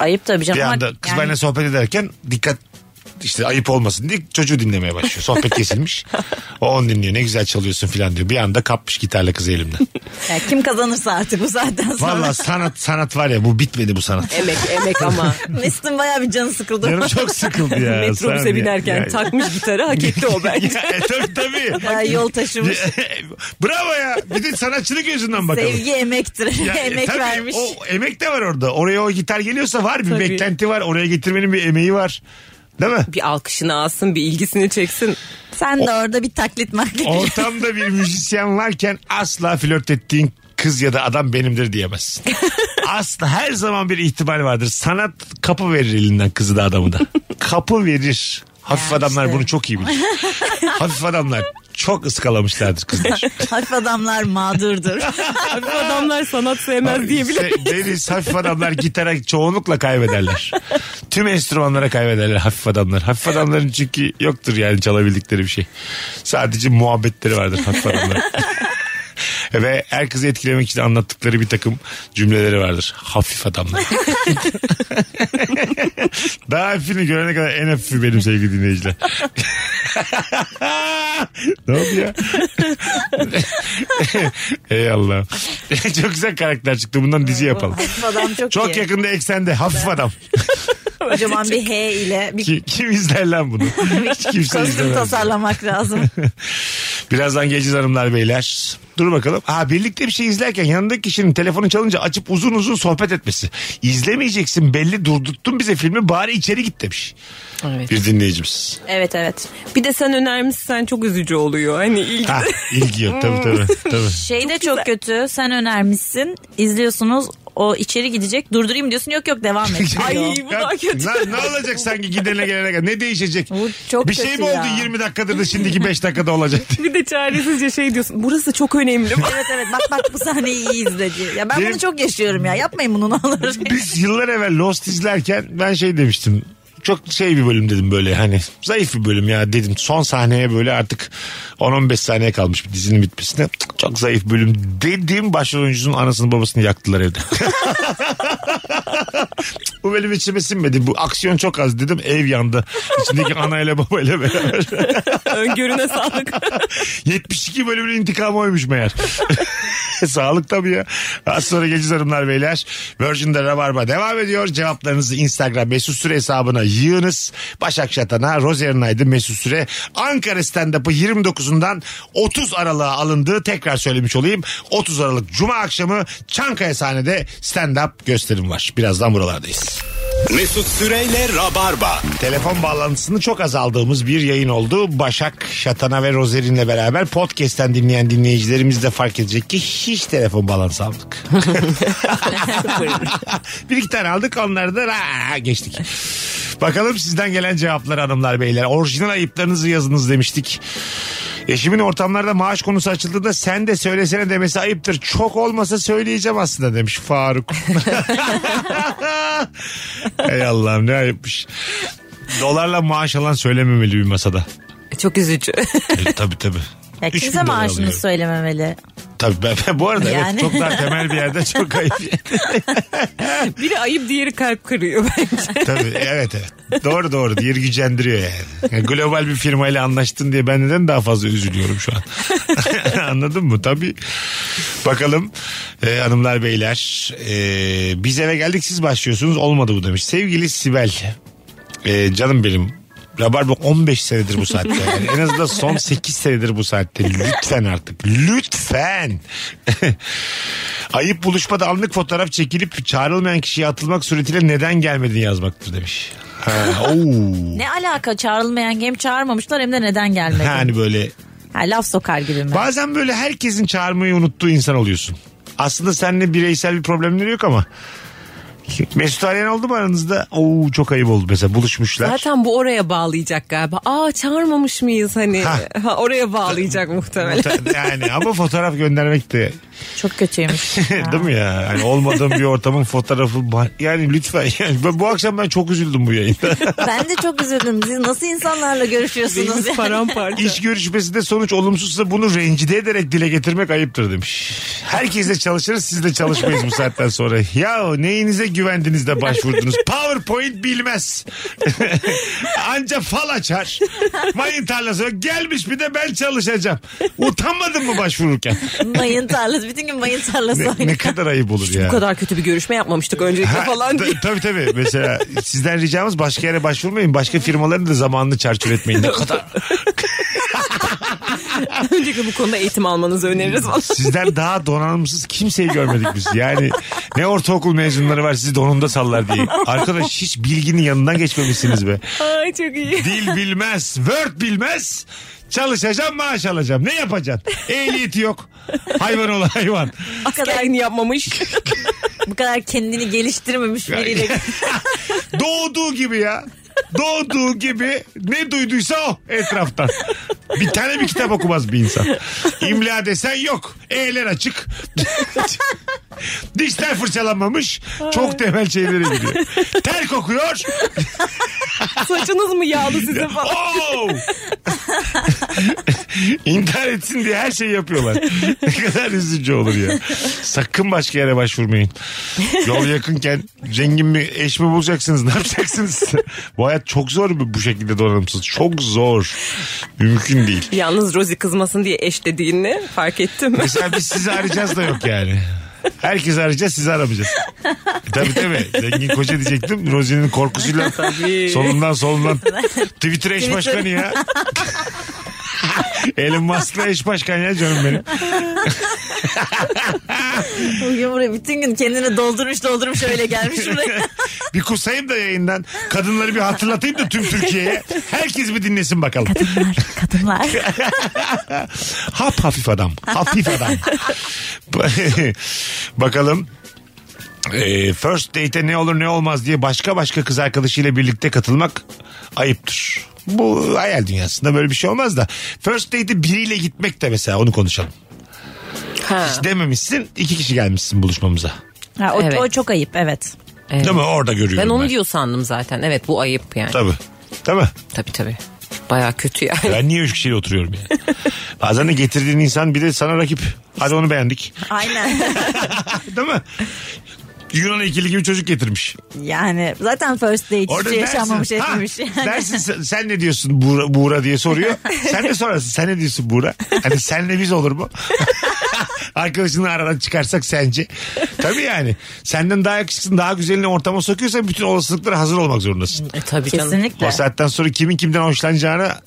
Ayıp tabii canım.
Bir
ama
anda kız
yani-
benimle sohbet ederken dikkat işte ayıp olmasın diye çocuğu dinlemeye başlıyor. Sohbet kesilmiş. O onu dinliyor. Ne güzel çalıyorsun falan diyor. Bir anda kapmış gitarla kızı elimden.
Ya kim kazanırsa artık bu saatten sonra.
Valla sanat sanat var ya bu bitmedi bu sanat.
Emek emek ama.
Mesut'un bayağı bir canı sıkıldı.
Canım çok sıkıldı ya. Sen ya-
Metrobüse binerken
ya-
takmış gitarı hak etti o bence.
Ya, e, tabii tabii.
Bayağı yol taşımış.
Bravo ya. Bir de sanatçılık gözünden bakalım.
Sevgi emektir.
Ya, e,
Emek
tabii,
vermiş.
O emek de var orada. Oraya o gitar geliyorsa var bir
Tabii.
beklenti var. Oraya getirmenin bir emeği var. Değil mi?
bir alkışını alsın bir ilgisini çeksin.
Sen de orada bir taklit maklit.
Ortamda bir müzisyen varken asla flört ettiğin kız ya da adam benimdir diyemezsin. Asla her zaman bir ihtimal vardır. Sanat kapı verir elinden kızı da adamı da. Kapı verir. Hafif
Ya
adamlar
işte.
bunu çok iyi bilir. Hafif adamlar çok ıskalamışlardır kızlar.
Hafif adamlar mağdurdur.
Abi adamlar sanat sevmez diyebilir.
İşte Deniz hafif şey, adamlar gitara çoğunlukla kaybederler. Tüm enstrümanlara kaybederler hafif adamlar. Hafif adamların çünkü yoktur yani çalabildikleri bir şey. Sadece muhabbetleri vardır hafif adamların. Ve her kızı etkilemek için anlattıkları bir takım cümleleri vardır. Hafif adamlar. Daha hafifini görene kadar en hafifi benim sevgili dinleyiciler. ne oldu ya? Ey Allah'ım. Çok güzel karakter çıktı. Bundan dizi yapalım.
Hafif adam çok,
Çok
iyi.
yakında eksende. Hafif adam.
Kocaman bir H ile bir
Ki- Kim izler lan bunu? Hiç kimse
kostüm
izlemez.
tasarlamak lazım.
Birazdan geleceğiz hanımlar beyler. Dur bakalım. Ha birlikte bir şey izlerken yanındaki kişinin telefonu çalınca açıp uzun uzun sohbet etmesi. İzlemeyeceksin belli durdurttun bize filmi bari içeri git demiş.
Evet.
Bir dinleyicimiz.
Evet evet.
Bir de sen önermişsen çok üzücü oluyor. Hani ilgi.
Ha ilgi yok tabii tabii. tabii.
Şey de çok kötü. Sen önermişsin. İzliyorsunuz. O içeri gidecek. Durdurayım diyorsun. Yok yok devam et.
Ay,
diyor.
bu daha kötü.
Ne, ne olacak sanki gidene gelene kadar? Ne değişecek?
Bu çok
bir şey
kötü
mi oldu
ya.
20 dakikadır da şimdiki 5 dakikada olacak diye.
Bir de çaresizce şey diyorsun. Burası çok önemli.
Evet evet bak bak bu sahneyi iyi izledi. Ya ben
Benim-
bunu çok yaşıyorum ya. Yapmayın bunu ne olur.
Biz yıllar evvel Lost izlerken ben şey demiştim. Çok şey bir bölüm dedim böyle hani zayıf bir bölüm ya dedim. Son sahneye böyle artık 10-15 saniye kalmış bir dizinin bitmesine. Cık, Çok zayıf bölüm dedim. Başrol oyuncunun anasını babasını yaktılar evde. Cık, bu bölüm içime sinmedi. Bu aksiyon çok az dedim. Ev yandı. İçindeki anayla babayla beraber.
Öngörüne sağlık.
72 bölümün intikamı oymuş meğer. Sağlık tabii ya. Az sonra geleceğiz hanımlar beyler. Virgin'de Rabarba devam ediyor. Cevaplarınızı Instagram mesut süre hesabına yığınız. Başak Şatan'a, Rozer Aydın mesut süre. Ankara stand-up'ı 29'undan 30 Aralık'a alındı. Tekrar söylemiş olayım. 30 Aralık Cuma akşamı Çankaya sahnede stand-up gösterim var. Birazdan buralardayız.
Mesut Süreyle Rabarba.
Telefon bağlantısını çok azaldığımız bir yayın oldu. Başak, Şatana ve Rozerin'le beraber podcast'ten dinleyen dinleyicilerimiz de fark edecek ki hiç telefon bağlantısı aldık. bir iki tane aldık onları da ra- geçtik. Bakalım sizden gelen cevaplar hanımlar beyler. Orijinal ayıplarınızı yazınız demiştik. Eşimin ortamlarda maaş konusu açıldığında sen de söylesene demesi ayıptır. Çok olmasa söyleyeceğim aslında demiş Faruk. Ey Allah'ım ne ayıpmış. Dolarla maaş alan söylememeli bir masada.
Çok üzücü.
E, tabii tabii.
Ya
Üç
kimse
bin dolar
maaşını
alıyorum.
söylememeli.
Tabii ben, ben bu arada
Yani.
evet, çok daha temel bir yerde çok ayıp.
Biri ayıp diğeri kalp kırıyor bence.
tabii evet evet. Doğru doğru. Diğeri gücendiriyor yani. yani. Global bir firmayla anlaştın diye ben neden daha fazla üzülüyorum şu an. Anladın mı? Tabii. Bakalım e, hanımlar beyler. E, biz eve geldik siz başlıyorsunuz. Olmadı bu demiş. Sevgili Sibel. e, canım benim. Rabarba 15 senedir bu saatte. Yani en azından son 8 senedir bu saatte. Lütfen artık. Lütfen. Ayıp buluşmada anlık fotoğraf çekilip çağrılmayan kişiye atılmak suretiyle neden gelmedin yazmaktır demiş. Ha, oo.
Ne alaka çağrılmayan hem çağırmamışlar hem de neden gelmedi?
Yani hani böyle
Ha, laf sokar gibi mi?
bazen böyle herkesin çağırmayı unuttuğu insan oluyorsun. Aslında seninle bireysel bir problemleri yok ama Mesut Aleyhan oldu mu aranızda? Oo çok ayıp oldu mesela buluşmuşlar.
Zaten bu oraya bağlayacak galiba. Aa çağırmamış mıyız hani?
Ha.
Ha, oraya bağlayacak muhtemelen.
yani ama fotoğraf göndermek de
Çok kötüymüş.
değil mi ya? Yani olmadığım bir ortamın fotoğrafı ba- yani lütfen yani ben- bu akşam ben çok üzüldüm bu yayında.
ben de çok üzüldüm. Siz nasıl insanlarla görüşüyorsunuz?
Beynimiz
yani?
paramparça.
İş görüşmesinde sonuç olumsuzsa bunu rencide ederek dile getirmek ayıptır demiş. Herkesle çalışırız siz de çalışmayız bu saatten sonra. Ya neyinize güvendiniz de başvurdunuz? PowerPoint bilmez. Anca fal açar. Mayın tarlası gelmiş bir de ben çalışacağım. Utanmadın mı başvururken?
Mayın tarlası. Bütün gün mayın tarlası
Ne, ne
oynuyor.
kadar ayıp olur ya.
Bu kadar kötü bir görüşme yapmamıştık öncelikle
Ha,
falan
ta-
diye.
Tabii tabii. Mesela sizden ricamız başka yere başvurmayın. Başka firmaların da zamanını çarçur etmeyin. Ne kadar
Öncelikle bu konuda eğitim almanızı öneririz falan.
Sizden daha donanımsız kimseyi görmedik biz. Yani ne ortaokul mezunları var sizi donunda sallar diye. Arkadaş hiç bilginin yanından geçmemişsiniz be.
Ay çok iyi.
Dil bilmez, Word bilmez. Çalışacağım maaş alacağım. Ne yapacaksın? Ehliyeti yok. Hayvan ol hayvan.
Askerliğini yapmamış.
Bu kadar kendini geliştirmemiş biriyle.
Doğduğu gibi ya. Doğduğu gibi ne duyduysa o etraftan. Bir tane bir kitap okumaz bir insan. İmla desen yok. E'ler açık. Dişler fırçalanmamış. Çok temel şeylere gidiyor. Ter kokuyor.
Saçınız mı yağlı size falan.
Oo! Oh! İntihar etsin diye her şeyi yapıyorlar. Ne kadar üzücü olur ya. Sakın başka yere başvurmayın. Yol yakınken zengin mi eş mi bulacaksınız ne yapacaksınız? bu hayat çok zor bu- bu şekilde donanımsız. Çok zor. Mümkün değil.
Yalnız Rosie kızmasın diye eş dediğini fark ettim.
Mesela biz sizi arayacağız da yok yani. Herkes arayacağız sizi aramayacağız. E, tabii tabii. Zengin koca diyecektim. Rozi'nin korkusuyla solundan solundan. Twitter eş başkanı ya. Elon Musk'la eş başkan ya canım benim.
Bugün buraya bütün gün kendini doldurmuş doldurmuş öyle gelmiş buraya.
bir kusayım da yayından. Kadınları bir hatırlatayım da tüm Türkiye'ye. Herkes bir dinlesin bakalım.
Kadınlar, kadınlar.
Hap hafif adam. Hafif adam. Bakalım. Ee, first date'e ne olur ne olmaz diye başka başka kız arkadaşıyla birlikte katılmak ayıptır. Bu hayal dünyasında böyle bir şey olmaz da. First date'e biriyle gitmek de mesela onu konuşalım.
Ha.
Hiç dememişsin iki kişi gelmişsin buluşmamıza.
Ha, o,
Evet.
o çok ayıp evet.
Evet.
Değil mi? Orada görüyorum
Ben
ben.
onu diyor sandım zaten. Evet bu ayıp yani.
Tabii. Değil mi?
Tabii tabii. Baya kötü yani.
Ben niye üç kişiyle oturuyorum yani? Bazen de getirdiğin insan bir de sana rakip. Hadi onu beğendik.
Aynen.
Değil mi? Yunan ikili gibi çocuk getirmiş.
yani zaten first date hiç şey yaşanmamış
ha,
etmemiş. Yani.
dersin sen, sen ne diyorsun Buğra, Buğra diye soruyor. sen de sorarsın sen ne diyorsun Buğra? Hani senle biz olur mu? Arkadaşını aradan çıkarsak sence. Tabii yani. Senden daha yakışıksın daha güzelini ortama sokuyorsan bütün olasılıklara hazır olmak zorundasın.
E, tabii canım.
Kesinlikle.
O saatten sonra kimin kimden hoşlanacağına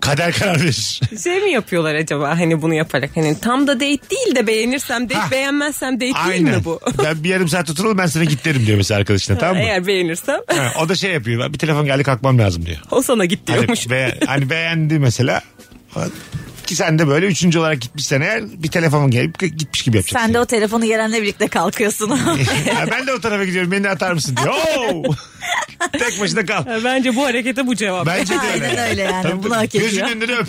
kader karar verir.
Şey mi yapıyorlar acaba hani bunu yaparak? Hani tam da date değil de beğenirsem date
Ha.
beğenmezsem date değil mi bu?
Ben bir yarım saat oturalım ben sana git derim diyor mesela arkadaşına tamam mı?
Eğer beğenirsem
Ha, o da şey yapıyor. "Ben- Bir telefon geldi kalkmam lazım diyor.
o sana git
Hani,
diyormuş.
be- hani beğendi mesela. Ki sen de böyle üçüncü olarak gitmişsen eğer bir telefonun gelip gitmiş gibi yapacaksın.
Sen de o telefonu gelenle birlikte kalkıyorsun.
Ha, ben de o tarafa gidiyorum beni de atar mısın diyor. Oo! Tek başına kal.
Bence bu harekete bu cevap.
Bence de öyle.
Aynen öyle yani. Bunu hak
Gözünün
ediyor.
önünde öp.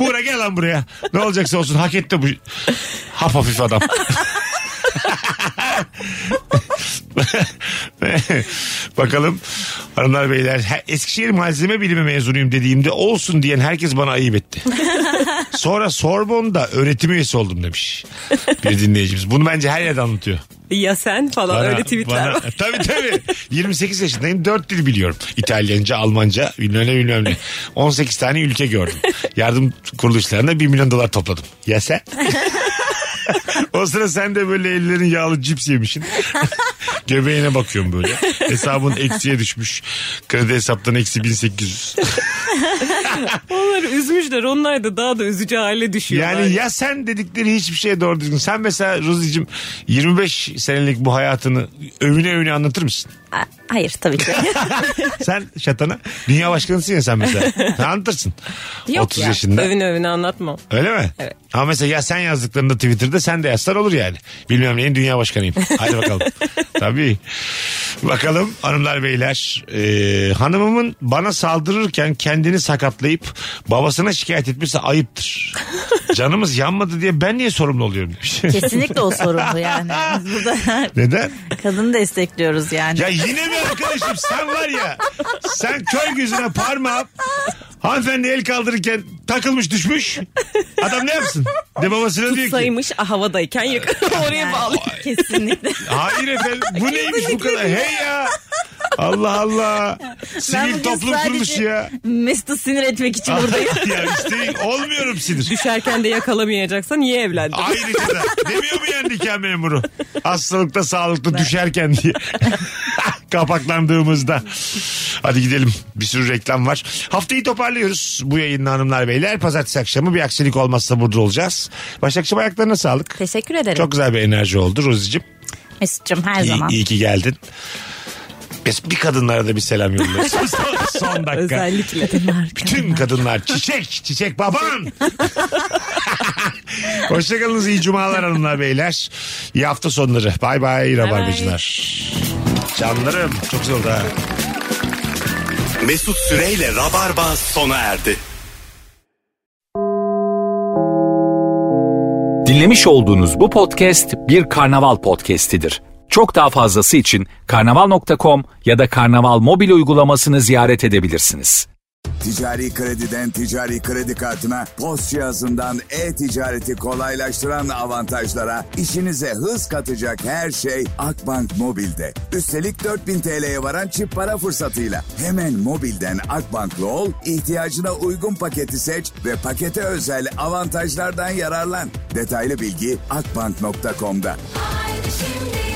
Buğra gel lan buraya. Ne olacaksa olsun hak etti bu. Hap hafif adam. Bakalım hanımlar beyler he- Eskişehir malzeme bilimi mezunuyum dediğimde olsun diyen herkes bana ayıp etti. Sonra Sorbonne'da öğretim üyesi oldum demiş bir dinleyicimiz. Bunu bence her yerde anlatıyor.
Ya sen falan öyle tweetler
bana-
var.
Tabii tabii. 28 yaşındayım. 4 dil biliyorum. İtalyanca, Almanca, bilmem ne bilmem ne. 18 tane ülke gördüm. Yardım kuruluşlarına 1 milyon dolar topladım. Ya sen? o sıra sen de böyle ellerin yağlı cips yemişsin. Göbeğine bakıyorum böyle. Hesabın eksiye düşmüş. Kredi hesaptan eksi 1800.
Onları üzmüşler. Onlar da daha da üzücü hale düşüyorlar.
Yani ya sen dedikleri hiçbir şeye doğru düzgün. Sen mesela Ruzi'cim 25 senelik bu hayatını övüne övüne anlatır mısın?
Ha- Hayır tabii ki.
Sen şatana dünya başkanısın ya sen mesela. Ne anlatırsın?
Yok
30
ya.
yaşında.
Övün övün anlatmam.
Öyle mi?
Evet.
Ama mesela ya sen yazdıklarında Twitter'da sen de yazsan olur yani. Bilmem neyin dünya başkanıyım. Hadi bakalım. Tabii Tabii. Bakalım hanımlar beyler. Ee, hanımımın bana saldırırken kendini sakatlayıp babasına şikayet etmesi ayıptır. Canımız yanmadı diye ben niye sorumlu oluyorum demiş.
Kesinlikle o sorumlu yani. Biz burada
Neden?
kadını destekliyoruz yani.
Ya yine mi arkadaşım sen var ya sen köy gözüne parmağı hanımefendi el kaldırırken takılmış düşmüş. Adam ne yapsın? De babasına diyor ki
Saymış ah, havadayken yak oraya
Yani
bağlı.
Kesinlikle.
hayır efendim bu neymiş bu kadar hey ya. Allah Allah. Sivil
bugün
toplum kurmuş
sadece
ya.
Mesut'u sinir etmek için buradayım.
ya işte olmuyorum sinir.
Düşerken de yakalamayacaksan niye evlendin?
Ayrıca da demiyor mu yani nikah memuru? Hastalıkta sağlıkta düşerken diye. Kapaklandığımızda. Hadi gidelim. Bir sürü reklam var. Haftayı toparlıyoruz bu yayınla hanımlar beyler. Pazartesi akşamı bir aksilik olmazsa burada olacağız. Başakçım ayaklarına sağlık.
Teşekkür ederim.
Çok güzel bir enerji oldu Rozi'cim.
Mesut'cum her
İyi,
zaman.
iyi ki geldin. Biz bir kadınlara da bir selam yolluyoruz. son, son dakika.
Özellikle.
Bütün kadınlar çiçek çiçek baban. Hoşçakalınız iyi cumalar hanımlar beyler. İyi hafta sonları. Bay bay rabarbacılar. Canlarım çok güzel oldu ha.
Mesut Süreyle Rabarba sona erdi.
Dinlemiş olduğunuz bu podcast bir karnaval podcastidir. Çok daha fazlası için karnaval.com ya da karnaval mobil uygulamasını ziyaret edebilirsiniz.
Ticari krediden ticari kredi kartına, post cihazından e-ticareti kolaylaştıran avantajlara, işinize hız katacak her şey Akbank Mobil'de. Üstelik 4000 TL'ye varan çift para fırsatıyla. Hemen mobilden Akbank'lı ol, ihtiyacına uygun paketi seç ve pakete özel avantajlardan yararlan. Detaylı bilgi akbank.com'da.
Haydi şimdi